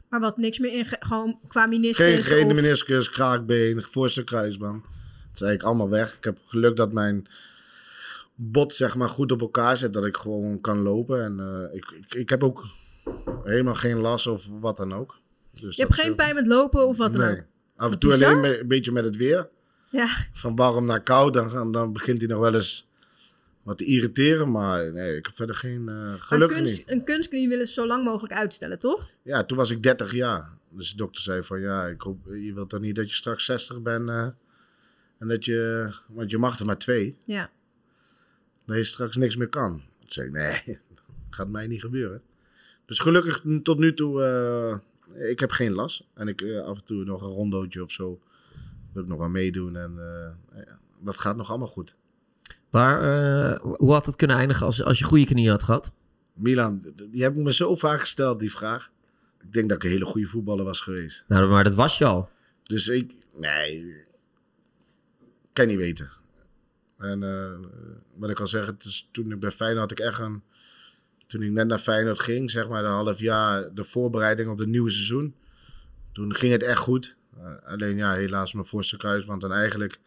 Speaker 2: Maar wat niks meer in, gewoon qua meniscus.
Speaker 6: Geen, geen
Speaker 2: of-
Speaker 6: meniscus, kraakbeen, voorste kruisband. Dat is eigenlijk allemaal weg. Ik heb geluk dat mijn bot zeg maar goed op elkaar zit. Dat ik gewoon kan lopen. En eh, ik, ik, ik heb ook helemaal geen last of wat dan ook. Dus
Speaker 2: Je hebt geen pijn met lopen of wat dan ook.
Speaker 6: Af en toe
Speaker 2: Bizar.
Speaker 6: alleen me- een beetje met het weer.
Speaker 2: Ja.
Speaker 6: Van warm naar koud. Dan, gaan- dan begint hij nog wel eens wat te irriteren. Maar nee, ik heb verder geen eh
Speaker 2: Maar
Speaker 6: gelukkig niet.
Speaker 2: kunst, een kunstknie willen ze zo lang mogelijk uitstellen, toch?
Speaker 6: Ja, toen was ik 30 jaar. Dus de dokter zei van ja, ik hoop, je wilt dan niet dat je straks 60 bent. eh, en dat je, want je mag er maar twee.
Speaker 2: Ja.
Speaker 6: Dat je straks niks meer kan. Toen zei ik nee, gaat mij niet gebeuren. Dus gelukkig n- tot nu toe, eh, ik heb geen last. En ik eh, af en toe nog een rondootje of zo. Wil ik nog aan meedoen. En eh, ja, dat gaat nog allemaal goed.
Speaker 1: Waar, eh, hoe had het kunnen eindigen als, als je goede knie had gehad?
Speaker 6: Milan, d- d- je hebt me zo vaak gesteld die vraag. Ik denk dat ik een hele goede voetballer was geweest.
Speaker 1: Nou, maar dat was je al.
Speaker 6: Dus ik, nee, kan niet weten. En eh, wat ik al zeg, het is, toen ik bij Feyenoord had ik echt een, toen ik net naar Feyenoord ging, zeg maar een half jaar de voorbereiding op het nieuwe seizoen. Toen ging het echt goed. Eh, alleen ja, helaas mijn voorste kruisband. En eigenlijk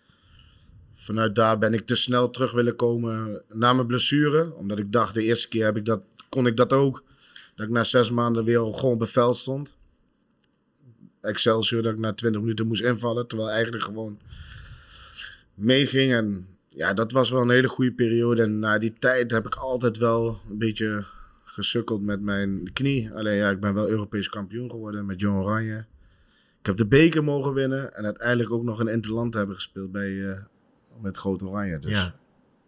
Speaker 6: vanuit daar ben ik te snel terug willen komen na mijn blessure. Omdat ik dacht, de eerste keer heb ik dat, kon ik dat ook. Dat ik na zes maanden weer gewoon op het veld stond. Excelsior dat ik na 20 minuten moest invallen. Terwijl eigenlijk gewoon meeging. En ja, dat was wel een hele goede periode. En na die tijd heb ik altijd wel een beetje gesukkeld met mijn knie. Alleen ja, ik ben wel Europees kampioen geworden met Jong Oranje. Ik heb de beker mogen winnen. En uiteindelijk ook nog een interland hebben gespeeld bij, eh, met Groot Oranje. Dus
Speaker 1: Ja.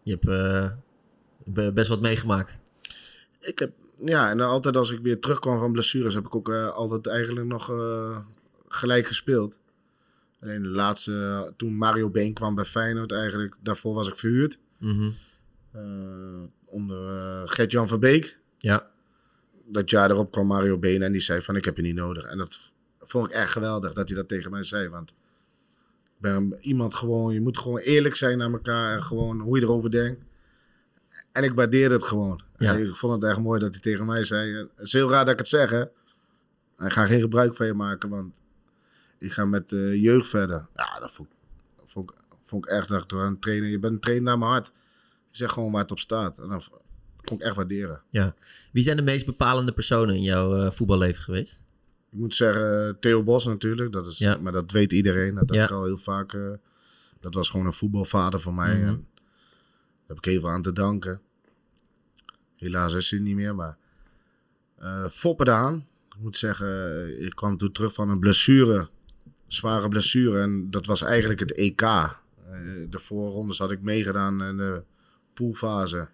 Speaker 1: Je hebt eh, be- best wat meegemaakt.
Speaker 6: ik heb, ja, en altijd als ik weer terugkwam van blessures, heb ik ook eh, altijd eigenlijk nog eh, gelijk gespeeld. Alleen de laatste, eh, toen Mario Been kwam bij Feyenoord eigenlijk, daarvoor was ik verhuurd.
Speaker 1: Mhm.
Speaker 6: eh, onder eh, Gert-Jan van Beek.
Speaker 1: Ja.
Speaker 6: Dat jaar erop kwam Mario Been en die zei van, ik heb je niet nodig. En dat v- vond ik echt geweldig dat hij dat tegen mij zei, want... ik Ben iemand gewoon, je moet gewoon eerlijk zijn naar elkaar en gewoon hoe je erover denkt. En ik waardeer het gewoon.
Speaker 1: Ja.
Speaker 6: En ik vond het echt mooi dat hij tegen mij zei. eh, Het is heel raar dat ik het zeg, hè. Ik ga geen gebruik van je maken, want ik ga met de jeugd verder. Ja, dat vond, ik- vond, ik- vond ik echt. Dat ik een trainer, je bent een trainer naar mijn hart. Je zegt gewoon waar het op staat. En dat kon ik echt waarderen.
Speaker 1: Wie zijn de meest bepalende personen in jouw eh, voetballeven geweest?
Speaker 6: Ik moet zeggen, Theo Bos natuurlijk. Dat is,
Speaker 1: Ja.
Speaker 6: Maar dat weet iedereen. Dat
Speaker 1: Ja.
Speaker 6: heb ik al heel vaak. eh, dat was gewoon een voetbalvader voor mij.
Speaker 1: Mhm.
Speaker 6: en daar heb ik heel veel aan te danken. Helaas is hij niet meer, maar... eh foppen eraan. Ik moet zeggen, eh, ik kwam toen terug van een blessure. Zware blessure. En dat was eigenlijk het EK. Eh, de voorrondes had ik meegedaan in de poolfase.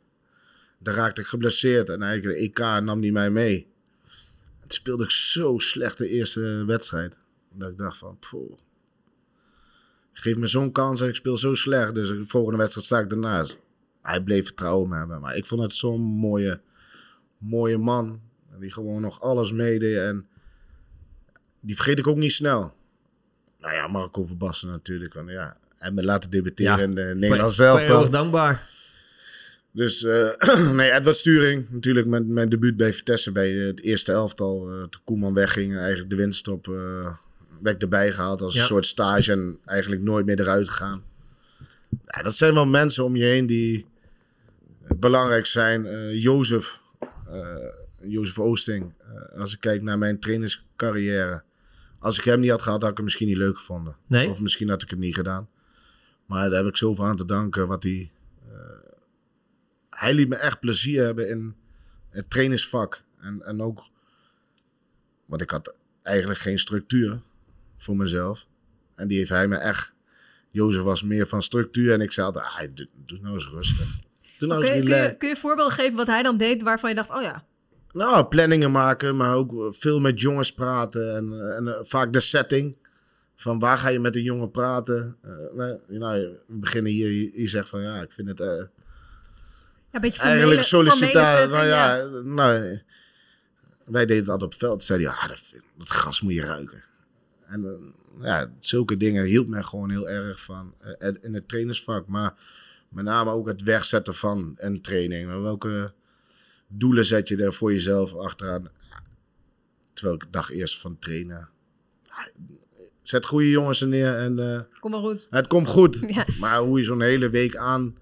Speaker 6: Daar raakte ik geblesseerd. En eigenlijk de EK nam die mij mee. Het speelde ik zo slecht de eerste wedstrijd. Dat ik dacht van, poeh. Geef me zo'n kans en ik speel zo slecht. Dus de volgende wedstrijd sta ik ernaast. Hij bleef vertrouwen in me hebben. Maar ik vond het zo'n mooie, mooie man. Die gewoon nog alles meedeed. En die vergeet ik ook niet snel. Nou ja, Marco Verbassen natuurlijk. Want ja, hij me laten debatteren
Speaker 1: Ja,
Speaker 6: in de
Speaker 1: Voor-
Speaker 6: Nederlands
Speaker 1: voor
Speaker 6: zelf.
Speaker 1: eeuwig dankbaar.
Speaker 6: Dus eh, nee, Edward Sturing natuurlijk met mijn debuut bij Vitesse bij eh, het eerste elftal. eh toen Koeman wegging en eigenlijk de winststop eh werd erbij gehaald als
Speaker 1: Ja.
Speaker 6: een soort stage en eigenlijk nooit meer eruit gegaan. Ja, dat zijn wel mensen om je heen die eh, belangrijk zijn. Eh, Jozef, eh, Jozef Oosting, eh, als ik kijk naar mijn trainerscarrière. Als ik hem niet had gehad, had ik hem misschien niet leuk gevonden.
Speaker 1: Nee?
Speaker 6: Of misschien had ik het niet gedaan. Maar daar heb ik zoveel aan te danken. Wat hij, eh, hij liet me echt plezier hebben in het trainersvak. En, en ook, want ik had eigenlijk geen structuur voor mezelf. En die heeft hij me echt. Jozef was meer van structuur en ik zei altijd, ah, doe, doe nou eens rustig. Doe nou
Speaker 2: Kun je,
Speaker 6: eens
Speaker 2: kun,
Speaker 6: relaxed.
Speaker 2: je, kun je voorbeelden geven wat hij dan deed waarvan je dacht, oh ja,
Speaker 6: Nou, planningen maken, maar ook veel met jongens praten. En, eh, en eh, vaak de setting. Van waar ga je met de jongen praten? Eh, nou, nou, we beginnen hier. Je, je zegt van ja, ik vind het eh,
Speaker 2: Ja, een beetje formele,
Speaker 6: eigenlijk sollicitatie.
Speaker 2: sollicitatie.
Speaker 6: Nou ja, nou, wij deden dat op het veld. Zeiden ja, dat, dat gas moet je ruiken. En eh, ja, zulke dingen hielp mij gewoon heel erg van eh, het- in het trainersvak. Maar met name ook het wegzetten van een training. Maar welke doelen zet je er voor jezelf achteraan? Terwijl ik de dag eerst van trainen. Ah, Zet goede jongens er neer en eh,
Speaker 2: Kom maar goed.
Speaker 6: het komt goed.
Speaker 2: Ja.
Speaker 6: Maar hoe je zo'n hele week aan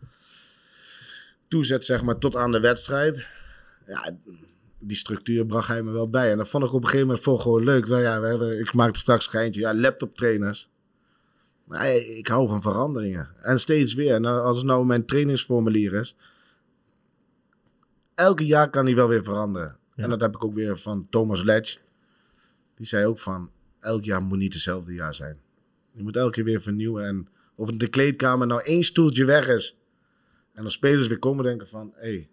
Speaker 6: toezet, zeg maar, tot aan de wedstrijd. Ja, die structuur bracht hij me wel bij. En dat vond ik op een gegeven moment voor gewoon leuk. Nou ja, we hebben, ik maakte straks een geintje. Ja, laptoptrainers. Maar hey, ik hou van veranderingen. En steeds weer. En als het nou mijn trainingsformulier is. Elke jaar kan die wel weer veranderen.
Speaker 1: Ja.
Speaker 6: En dat heb ik ook weer van Thomas Letch. Die zei ook van, elk jaar moet niet hetzelfde jaar zijn. Je moet elke keer weer vernieuwen. En of de kleedkamer nou één stoeltje weg is. En als spelers weer komen denken van, hé. Hey,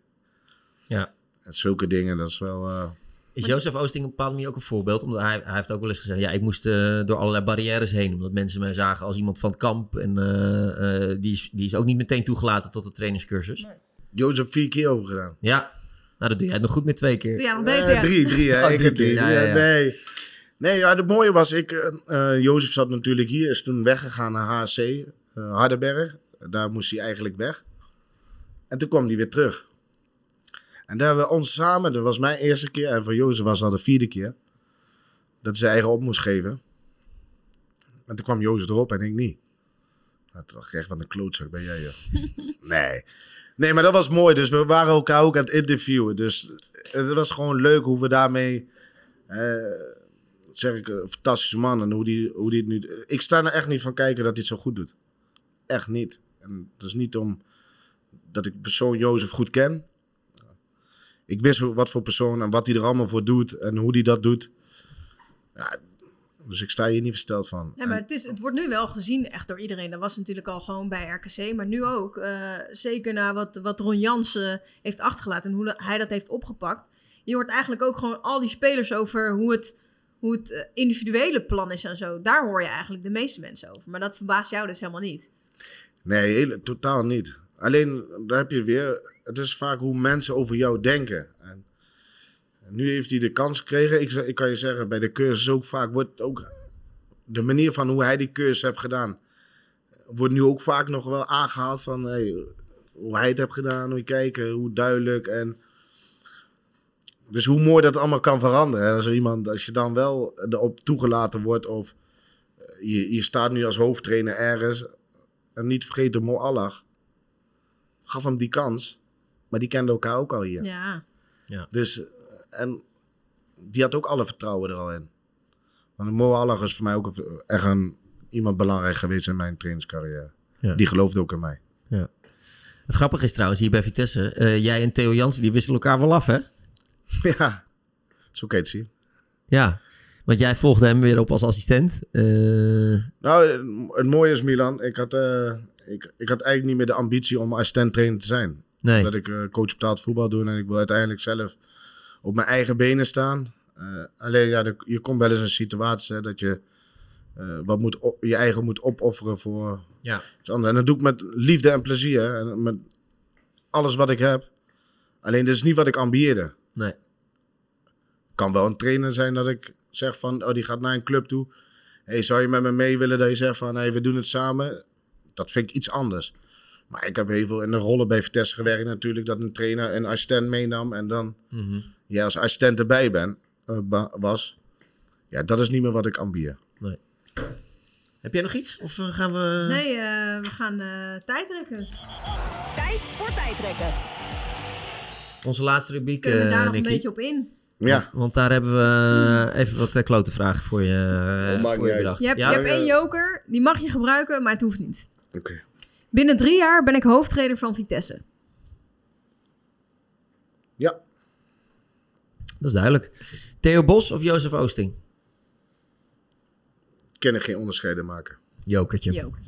Speaker 1: Ja.
Speaker 6: en zulke dingen, dat is wel... eh,
Speaker 1: Is Jozef Oosting op een bepaalde manier ook een voorbeeld? Omdat hij, hij heeft ook wel eens gezegd, ja, ik moest eh, door allerlei barrières heen. Omdat mensen mij zagen als iemand van het kamp. En eh, eh, die, is, die is ook niet meteen toegelaten tot de trainerscursus.
Speaker 6: Jozef vier keer over gedaan.
Speaker 1: Ja, nou dat doe jij het nog goed met twee keer.
Speaker 2: Doe jij nog
Speaker 6: Eh,
Speaker 2: beter.
Speaker 6: drie, drie. Hè?
Speaker 1: Oh,
Speaker 6: ik
Speaker 1: drie
Speaker 6: heb drie.
Speaker 1: keer, ja,
Speaker 6: ja,
Speaker 1: ja, ja.
Speaker 6: Nee, nee ja, het mooie was, ik, eh, eh, Jozef zat natuurlijk hier, is toen weggegaan naar HC eh, Hardenberg. Daar moest hij eigenlijk weg. En toen kwam hij weer terug. En daar hebben we ons samen, dat was mijn eerste keer en voor Jozef was dat de vierde keer, dat hij zijn eigen op moest geven. En toen kwam Jozef erop en ik niet. Nou, toen dacht ik echt, wat een klootzak ben jij, joh. nee. Nee, maar dat was mooi. Dus we waren elkaar ook aan het interviewen. Dus het was gewoon leuk hoe we daarmee. eh, zeg ik, een fantastische man. En hoe die, hoe die het nu. Ik sta er echt niet van kijken dat hij het zo goed doet. Echt niet. En dat is niet om. dat ik persoon Jozef goed ken. Ik wist hoe- wat voor persoon en wat hij er allemaal voor doet. en hoe hij dat doet. Ja, dus ik sta hier niet versteld van.
Speaker 2: Nee, maar het, is,
Speaker 1: oh.
Speaker 2: het wordt nu wel gezien echt door iedereen. Dat was natuurlijk al gewoon bij RKC, maar nu ook. eh, zeker na wat, wat Ron Jansen heeft achtergelaten en hoe hij dat heeft opgepakt. Je hoort eigenlijk ook gewoon al die spelers over hoe het, hoe het eh, individuele plan is en zo. Daar hoor je eigenlijk de meeste mensen over. Maar dat verbaast jou dus helemaal niet.
Speaker 6: Nee, hele- totaal niet. Alleen, daar heb je weer... Het is vaak hoe mensen over jou denken. En nu heeft hij de kans gekregen. Ik, z- ik kan je zeggen, bij de cursus ook vaak wordt ook... De manier van hoe hij die cursus heeft gedaan... Wordt nu ook vaak nog wel aangehaald van... Hey, hoe hij het heeft gedaan, hoe je kijken, hoe duidelijk en... Dus hoe mooi dat allemaal kan veranderen. hè. Als, er iemand, als je dan wel erop toegelaten wordt of eh, je, je staat nu als hoofdtrainer ergens en niet vergeten, Mo Allah gaf hem die kans. Maar die kenden elkaar ook al hier.
Speaker 2: Ja.
Speaker 6: Dus, eh, en die had ook alle vertrouwen er al in. Want Mo Allah is voor mij ook een- echt een, iemand belangrijk geweest in mijn trainingscarrière.
Speaker 1: Ja.
Speaker 6: Die geloofde ook in mij.
Speaker 1: Het grappige is trouwens, hier bij Vitesse, eh, jij en Theo Jansen, die wisselen elkaar wel af, hè?
Speaker 6: ja. Zo kan je het zien.
Speaker 1: Ja, want jij volgde hem weer op als assistent. Eh,
Speaker 6: Nou, het mooie is Milan, ik had, eh, ik, ik had eigenlijk niet meer de ambitie om assistent trainer te zijn.
Speaker 1: nee,
Speaker 6: Dat ik eh, coach betaald voetbal doe en ik wil uiteindelijk zelf op mijn eigen benen staan. Eh, alleen ja, de- je komt wel eens in een situatie hè, dat je eh, wat moet op- je eigen moet opofferen voor
Speaker 1: Ja.
Speaker 6: iets anders. En dat doe ik met liefde en plezier hè, en met alles wat ik heb. Alleen dat is niet wat ik ambieerde.
Speaker 1: nee.
Speaker 6: kan wel een trainer zijn dat ik zeg van, oh die gaat naar een club toe. Hey, zou je met me mee willen dat je zegt van, hey, we doen het samen? Dat vind ik iets anders. Maar ik heb heel veel in de rollen bij Vitesse gewerkt natuurlijk, dat een trainer een assistent meenam en dan
Speaker 1: Mhm.
Speaker 6: ja, als assistent erbij ben, eh, ba- was. Ja, dat is niet meer wat ik ambieer.
Speaker 1: Heb jij nog iets? Of eh, gaan we...
Speaker 2: Nee, eh, we gaan eh tijd trekken.
Speaker 3: Tijd voor tijdrekken.
Speaker 1: Onze laatste rubriek,
Speaker 2: Kunnen we
Speaker 1: eh,
Speaker 2: daar nog een
Speaker 1: Nicky.
Speaker 2: beetje op in?
Speaker 6: Ja,
Speaker 1: Want daar hebben we even wat eh, klote vragen voor je, eh,
Speaker 6: Oh, maakt
Speaker 1: voor
Speaker 6: niet
Speaker 1: je
Speaker 6: uit.
Speaker 1: bedacht.
Speaker 2: Je hebt,
Speaker 1: ja?
Speaker 2: je hebt één joker, die mag je gebruiken, maar het hoeft niet.
Speaker 6: oké.
Speaker 2: Binnen drie jaar ben ik hoofdtrainer van Vitesse.
Speaker 6: Ja,
Speaker 1: Dat is duidelijk. Theo Bos of Jozef Oosting?
Speaker 6: kan ik geen onderscheiden maken.
Speaker 1: Jokertje.
Speaker 2: Joker.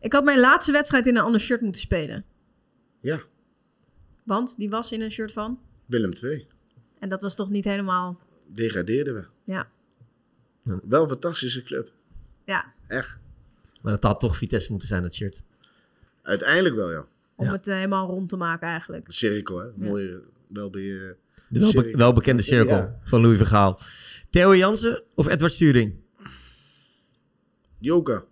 Speaker 2: Ik had mijn laatste wedstrijd in een ander shirt moeten spelen.
Speaker 6: Ja,
Speaker 2: Want die was in een shirt van.
Speaker 6: Willem 2.
Speaker 2: En dat was toch niet helemaal...
Speaker 6: Degradeerden we.
Speaker 2: Ja,
Speaker 6: Wel een fantastische club.
Speaker 2: ja
Speaker 6: Echt.
Speaker 1: Maar dat had toch Vitesse moeten zijn, dat shirt.
Speaker 6: Uiteindelijk wel, ja.
Speaker 2: om
Speaker 1: Ja.
Speaker 2: het eh, helemaal rond te maken eigenlijk.
Speaker 6: Cirkel, hè. Mooie, wel bij eh, je...
Speaker 1: De welbe-
Speaker 6: Cirkel.
Speaker 1: welbekende cirkel
Speaker 6: Ja.
Speaker 1: van Louis Vergaal. Theo Jansen of Edward Sturing?
Speaker 6: Joker.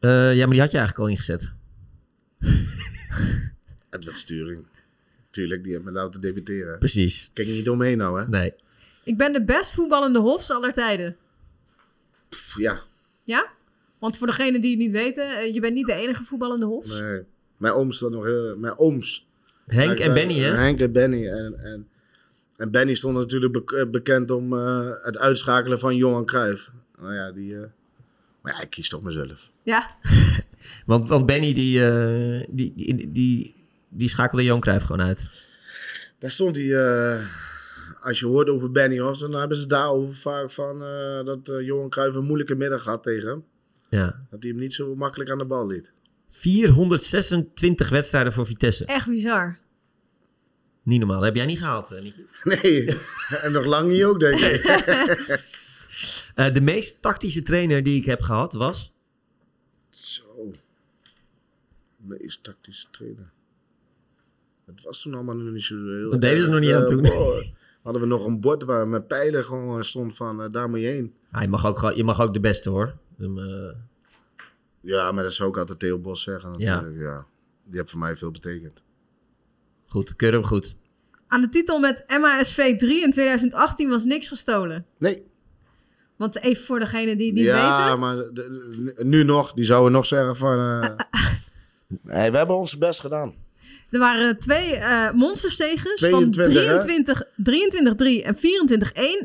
Speaker 1: Eh, ja, maar die had je eigenlijk al ingezet.
Speaker 6: Edward Sturing. Tuurlijk, die heeft me laten debuteren.
Speaker 1: Precies.
Speaker 6: Kijk niet omheen nou, hè?
Speaker 1: Nee.
Speaker 2: Ik ben de best voetballende hofs aller tijden.
Speaker 6: Pff, ja,
Speaker 2: Ja? Want voor degenen die het niet weten, eh, je bent niet de enige voetballende hofs.
Speaker 6: nee. Mijn ooms dan nog heel... Mijn ooms.
Speaker 1: Henk
Speaker 6: Mijn-
Speaker 1: en Benny, hè?
Speaker 6: Henk en Benny. En, en, en Benny stond natuurlijk bek- eh, bekend om eh, het uitschakelen van Johan Cruijff. Nou ja, die... eh, maar ja, ik kies toch mezelf.
Speaker 2: Ja,
Speaker 1: Want, want Benny, die, eh, die, die, die, die schakelde Johan Cruijff gewoon uit.
Speaker 6: Daar stond hij... eh, als je hoort over Benny Hofs, dan hebben ze daarover vaak van... eh, dat eh, Johan Cruijff een moeilijke middag had tegen hem.
Speaker 1: Ja.
Speaker 6: Dat hij hem niet zo makkelijk aan de bal liet.
Speaker 1: 426 wedstrijden voor Vitesse.
Speaker 2: echt bizar.
Speaker 1: Niet normaal. Dat heb jij niet gehaald, eh, Nicky.
Speaker 6: Nee, en nog lang niet ook, denk ik.
Speaker 1: Eh, de meest tactische trainer die ik heb gehad was...
Speaker 6: Zo. Meest tactische trainer. Het was toen allemaal nog niet zo heel...
Speaker 1: Dat deden ze
Speaker 6: erg,
Speaker 1: nog niet aan
Speaker 6: eh,
Speaker 1: toen.
Speaker 6: boor. Hadden we nog een bord waar mijn pijlen gewoon stond van eh, daar moet je heen.
Speaker 1: Ah, je, mag ook, gewoon- je mag ook de beste, hoor. Hem, eh,
Speaker 6: Ja, maar dat zou ik altijd Theo Bos zeggen
Speaker 1: Ja.
Speaker 6: natuurlijk. Ja. Die heeft voor mij veel betekend.
Speaker 1: goed, keur hem goed.
Speaker 2: Aan de titel met MASV 3 in 2018 was niks gestolen.
Speaker 6: Nee.
Speaker 2: Want even voor degenen die het niet
Speaker 6: ja,
Speaker 2: weten.
Speaker 6: maar de- de- nu nog. Die zouden nog zeggen van... eh, nee, we hebben ons best gedaan.
Speaker 2: Er waren twee eh monsterstegers van
Speaker 6: 22, hè?
Speaker 2: 23 23-3 en 24-1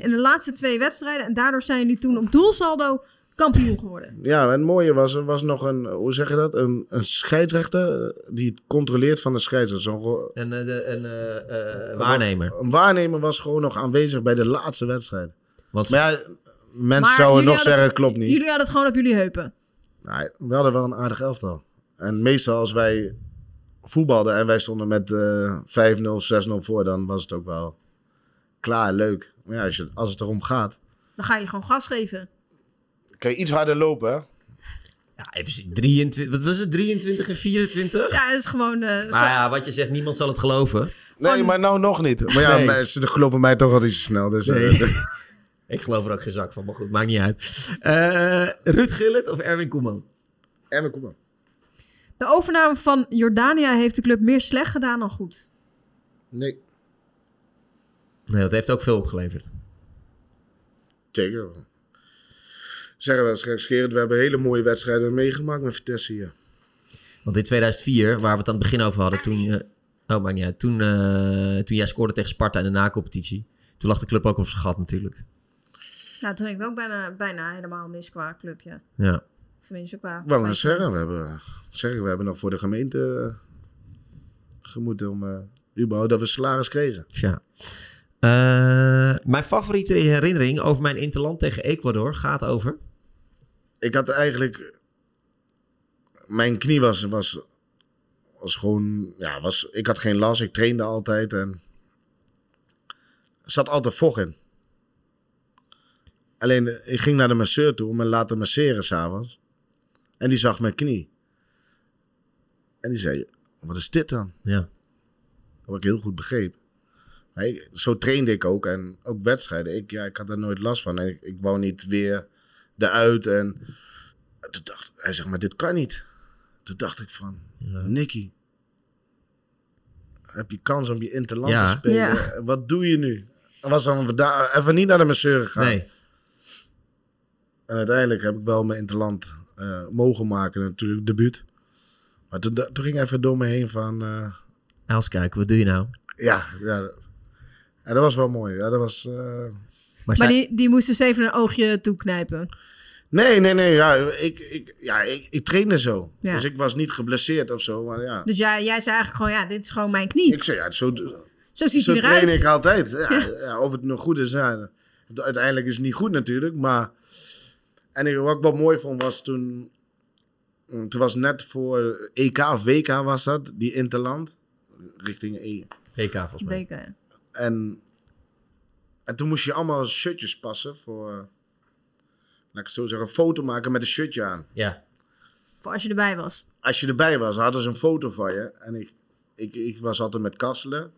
Speaker 2: in de laatste twee wedstrijden. En daardoor zijn jullie toen op doelsaldo kampioen geworden.
Speaker 6: Ja, en het mooie was, er was nog een, hoe zeg je dat, een, een scheidsrechter eh, die het controleert van de scheidsrechter. Zo'n ro-
Speaker 1: En eh, de, een eh, eh, waarnemer.
Speaker 6: Een waarnemer was gewoon nog aanwezig bij de laatste wedstrijd.
Speaker 1: Want ze-
Speaker 6: Maar ja,
Speaker 2: Maar
Speaker 6: mensen zouden
Speaker 2: jullie
Speaker 6: nog
Speaker 2: hadden
Speaker 6: zeggen,
Speaker 2: het-
Speaker 6: klopt niet.
Speaker 2: Jullie hadden het gewoon op jullie heupen.
Speaker 6: Nou, we hadden wel een aardig elftal. En meestal als wij voetbalden en wij stonden met eh 5-0, 6-0 voor, dan was het ook wel klaar, leuk. Maar ja, als, je, als het erom gaat,
Speaker 2: Dan ga je gewoon gas geven.
Speaker 6: kun je iets harder lopen. hè?
Speaker 1: ja, even zien. 23, wat was het? 23 en 24?
Speaker 2: Ja, dat is gewoon. eh, zo-
Speaker 1: Maar ja, wat je zegt, niemand zal het geloven.
Speaker 6: Nee,
Speaker 2: Oh,
Speaker 6: maar nou nog niet. Maar ja,
Speaker 1: Nee.
Speaker 6: mensen geloven mij toch altijd snel. Dus, eh,
Speaker 1: Ik geloof er ook geen zak van, maar goed, maakt niet uit. Eh Ruud Gillet of Erwin Koeman?
Speaker 6: en we komen.
Speaker 2: De overname van Jordania heeft de club meer slecht gedaan dan goed.
Speaker 6: Nee,
Speaker 1: Nee, dat heeft ook veel opgeleverd.
Speaker 6: zeker. Zeggen we straks, Gerard, we hebben hele mooie wedstrijden meegemaakt met Vitesse hier.
Speaker 1: Want in 2004, waar we het aan het begin over hadden, toen je... Oh, maakt niet uit. Toen, eh, toen jij scoorde tegen Sparta in de nacompetitie. Toen lag de club ook op zijn gat natuurlijk.
Speaker 2: Nou, toen ging het ook bijna, bijna helemaal mis qua clubje.
Speaker 1: Ja.
Speaker 2: Tenminste, qua.
Speaker 6: Wel
Speaker 2: qua
Speaker 6: maar zeggen, we
Speaker 2: club.
Speaker 6: hebben, zeggen, we hebben nog voor de gemeente eh, gemoet om eh, überhaupt dat we salaris kregen.
Speaker 1: Tja. Eh, mijn favoriete herinnering over mijn interland tegen Ecuador gaat over...
Speaker 6: ik had eigenlijk. Mijn knie was, was, was gewoon. Ja, was, ik had geen last, ik trainde altijd en. Er zat altijd vocht in. Alleen eh, ik ging naar de masseur toe om me laten masseren s'avonds. En die zag mijn knie. En die zei: Wat is dit dan?
Speaker 1: Ja.
Speaker 6: Wat ik heel goed begreep. Maar ik- zo trainde ik ook en ook wedstrijden. Ik, ja, ik had daar nooit last van. En ik, ik wou niet weer eruit. En toen dacht hij, zegt maar, dit kan niet. Toen dacht ik van, Nicky, heb je kans om je interland
Speaker 1: Ja.
Speaker 6: te spelen?
Speaker 2: Ja.
Speaker 6: En Wat doe je nu? Er Was dan vandaag even niet naar de masseur gegaan.
Speaker 1: Nee.
Speaker 6: En uiteindelijk heb ik wel mijn interland eh, mogen maken, natuurlijk debuut. Maar toen, da- toen ging even door me heen van, eh,
Speaker 1: Elskijk, wat doe je nou?
Speaker 6: ja, ja. En dat was wel mooi. Ja, dat was... eh,
Speaker 1: Maar,
Speaker 2: Maar
Speaker 1: zij-
Speaker 2: die, die moest dus even een oogje toeknijpen.
Speaker 6: Nee, nee, nee. Ja, ik, ik, ja, ik, ik trainde zo.
Speaker 2: Ja.
Speaker 6: Dus ik was niet geblesseerd of zo. Maar ja.
Speaker 2: Dus jij, jij zei eigenlijk gewoon, ja, dit is gewoon mijn knie.
Speaker 6: Ik zei, ja, zo,
Speaker 2: Zo ziet
Speaker 6: zo
Speaker 2: hij
Speaker 6: train ik
Speaker 2: eruit.
Speaker 6: altijd. Ja, ja, of het nog goed is. Ja. Uiteindelijk is het niet goed natuurlijk. Maar. En ik- wat ik wel mooi vond was toen. mm, Toen was net voor EK of WK was dat, die Interland. Richting E.
Speaker 1: PK volgens mij.
Speaker 2: Beken, ja.
Speaker 6: En, en toen moest je allemaal shirtjes passen voor. eh, Laat ik het zo zeggen, een foto maken met een shirtje aan.
Speaker 1: Ja.
Speaker 2: Voor als je erbij was.
Speaker 6: als je erbij was, hadden ze een foto van je. En ik, ik, ik was altijd met Kasselen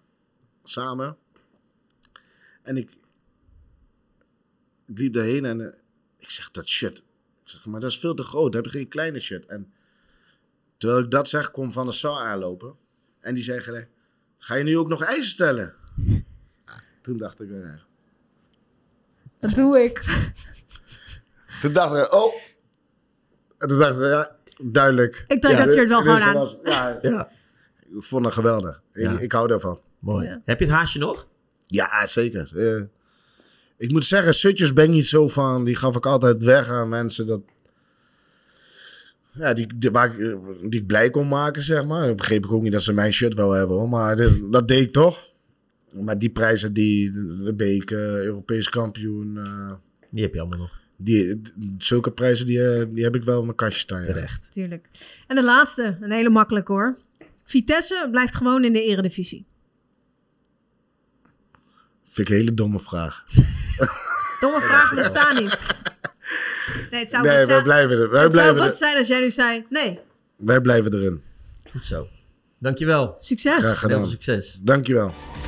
Speaker 6: samen. En ik, ik liep daarheen en eh, ik zeg, dat shirt. Ik zeg, maar dat is veel te groot. Heb je geen kleine shirt? En terwijl ik dat zeg, kwam Van der Sar aanlopen. En die zei gelijk, ga je nu ook nog eisen stellen? Ah, Toen dacht ik, eh,
Speaker 2: Dat doe ik.
Speaker 6: toen dacht ik, oh. En toen dacht ik, ja, duidelijk.
Speaker 2: Ik trek
Speaker 6: Ja,
Speaker 2: dat shirt wel
Speaker 6: dit- dit
Speaker 2: gewoon
Speaker 6: was- ja,
Speaker 1: Ja.
Speaker 6: ik vond het geweldig.
Speaker 1: Ja.
Speaker 6: Ik, ik hou daarvan.
Speaker 1: Mooi.
Speaker 2: Ja.
Speaker 1: Heb je het haasje nog?
Speaker 6: Ja, zeker. Eh, ik moet zeggen, shirtjes ben ik niet zo van. Die gaf ik altijd weg aan mensen. Dat, ja, die, die, waar ik, eh, die ik blij kon maken, zeg maar. Dat begreep ik ook niet dat ze mijn shirt wel hebben, hoor. maar dit- dat deed ik toch. Maar die prijzen, die de Beek, eh, Europees kampioen, eh,
Speaker 1: Die heb je allemaal nog.
Speaker 6: die, zulke prijzen, die, eh, die heb ik wel in mijn kastje staan. ja.
Speaker 1: Terecht.
Speaker 2: Tuurlijk. En de laatste, een hele makkelijke hoor. Vitesse blijft gewoon in de eredivisie.
Speaker 6: Vind ik een hele domme vraag.
Speaker 2: Domme vragen bestaan niet. Nee, het zou,
Speaker 6: Nee,
Speaker 2: wat,
Speaker 6: wij
Speaker 2: zijn,
Speaker 6: blijven, er, wij,
Speaker 2: het zou
Speaker 6: blijven
Speaker 2: wat
Speaker 6: er,
Speaker 2: zijn als jij nu zei, nee,
Speaker 6: wij blijven erin.
Speaker 1: Goed zo. Dankjewel.
Speaker 2: succes.
Speaker 6: Graag
Speaker 1: Heel
Speaker 6: gedaan.
Speaker 1: veel succes.
Speaker 6: Dankjewel.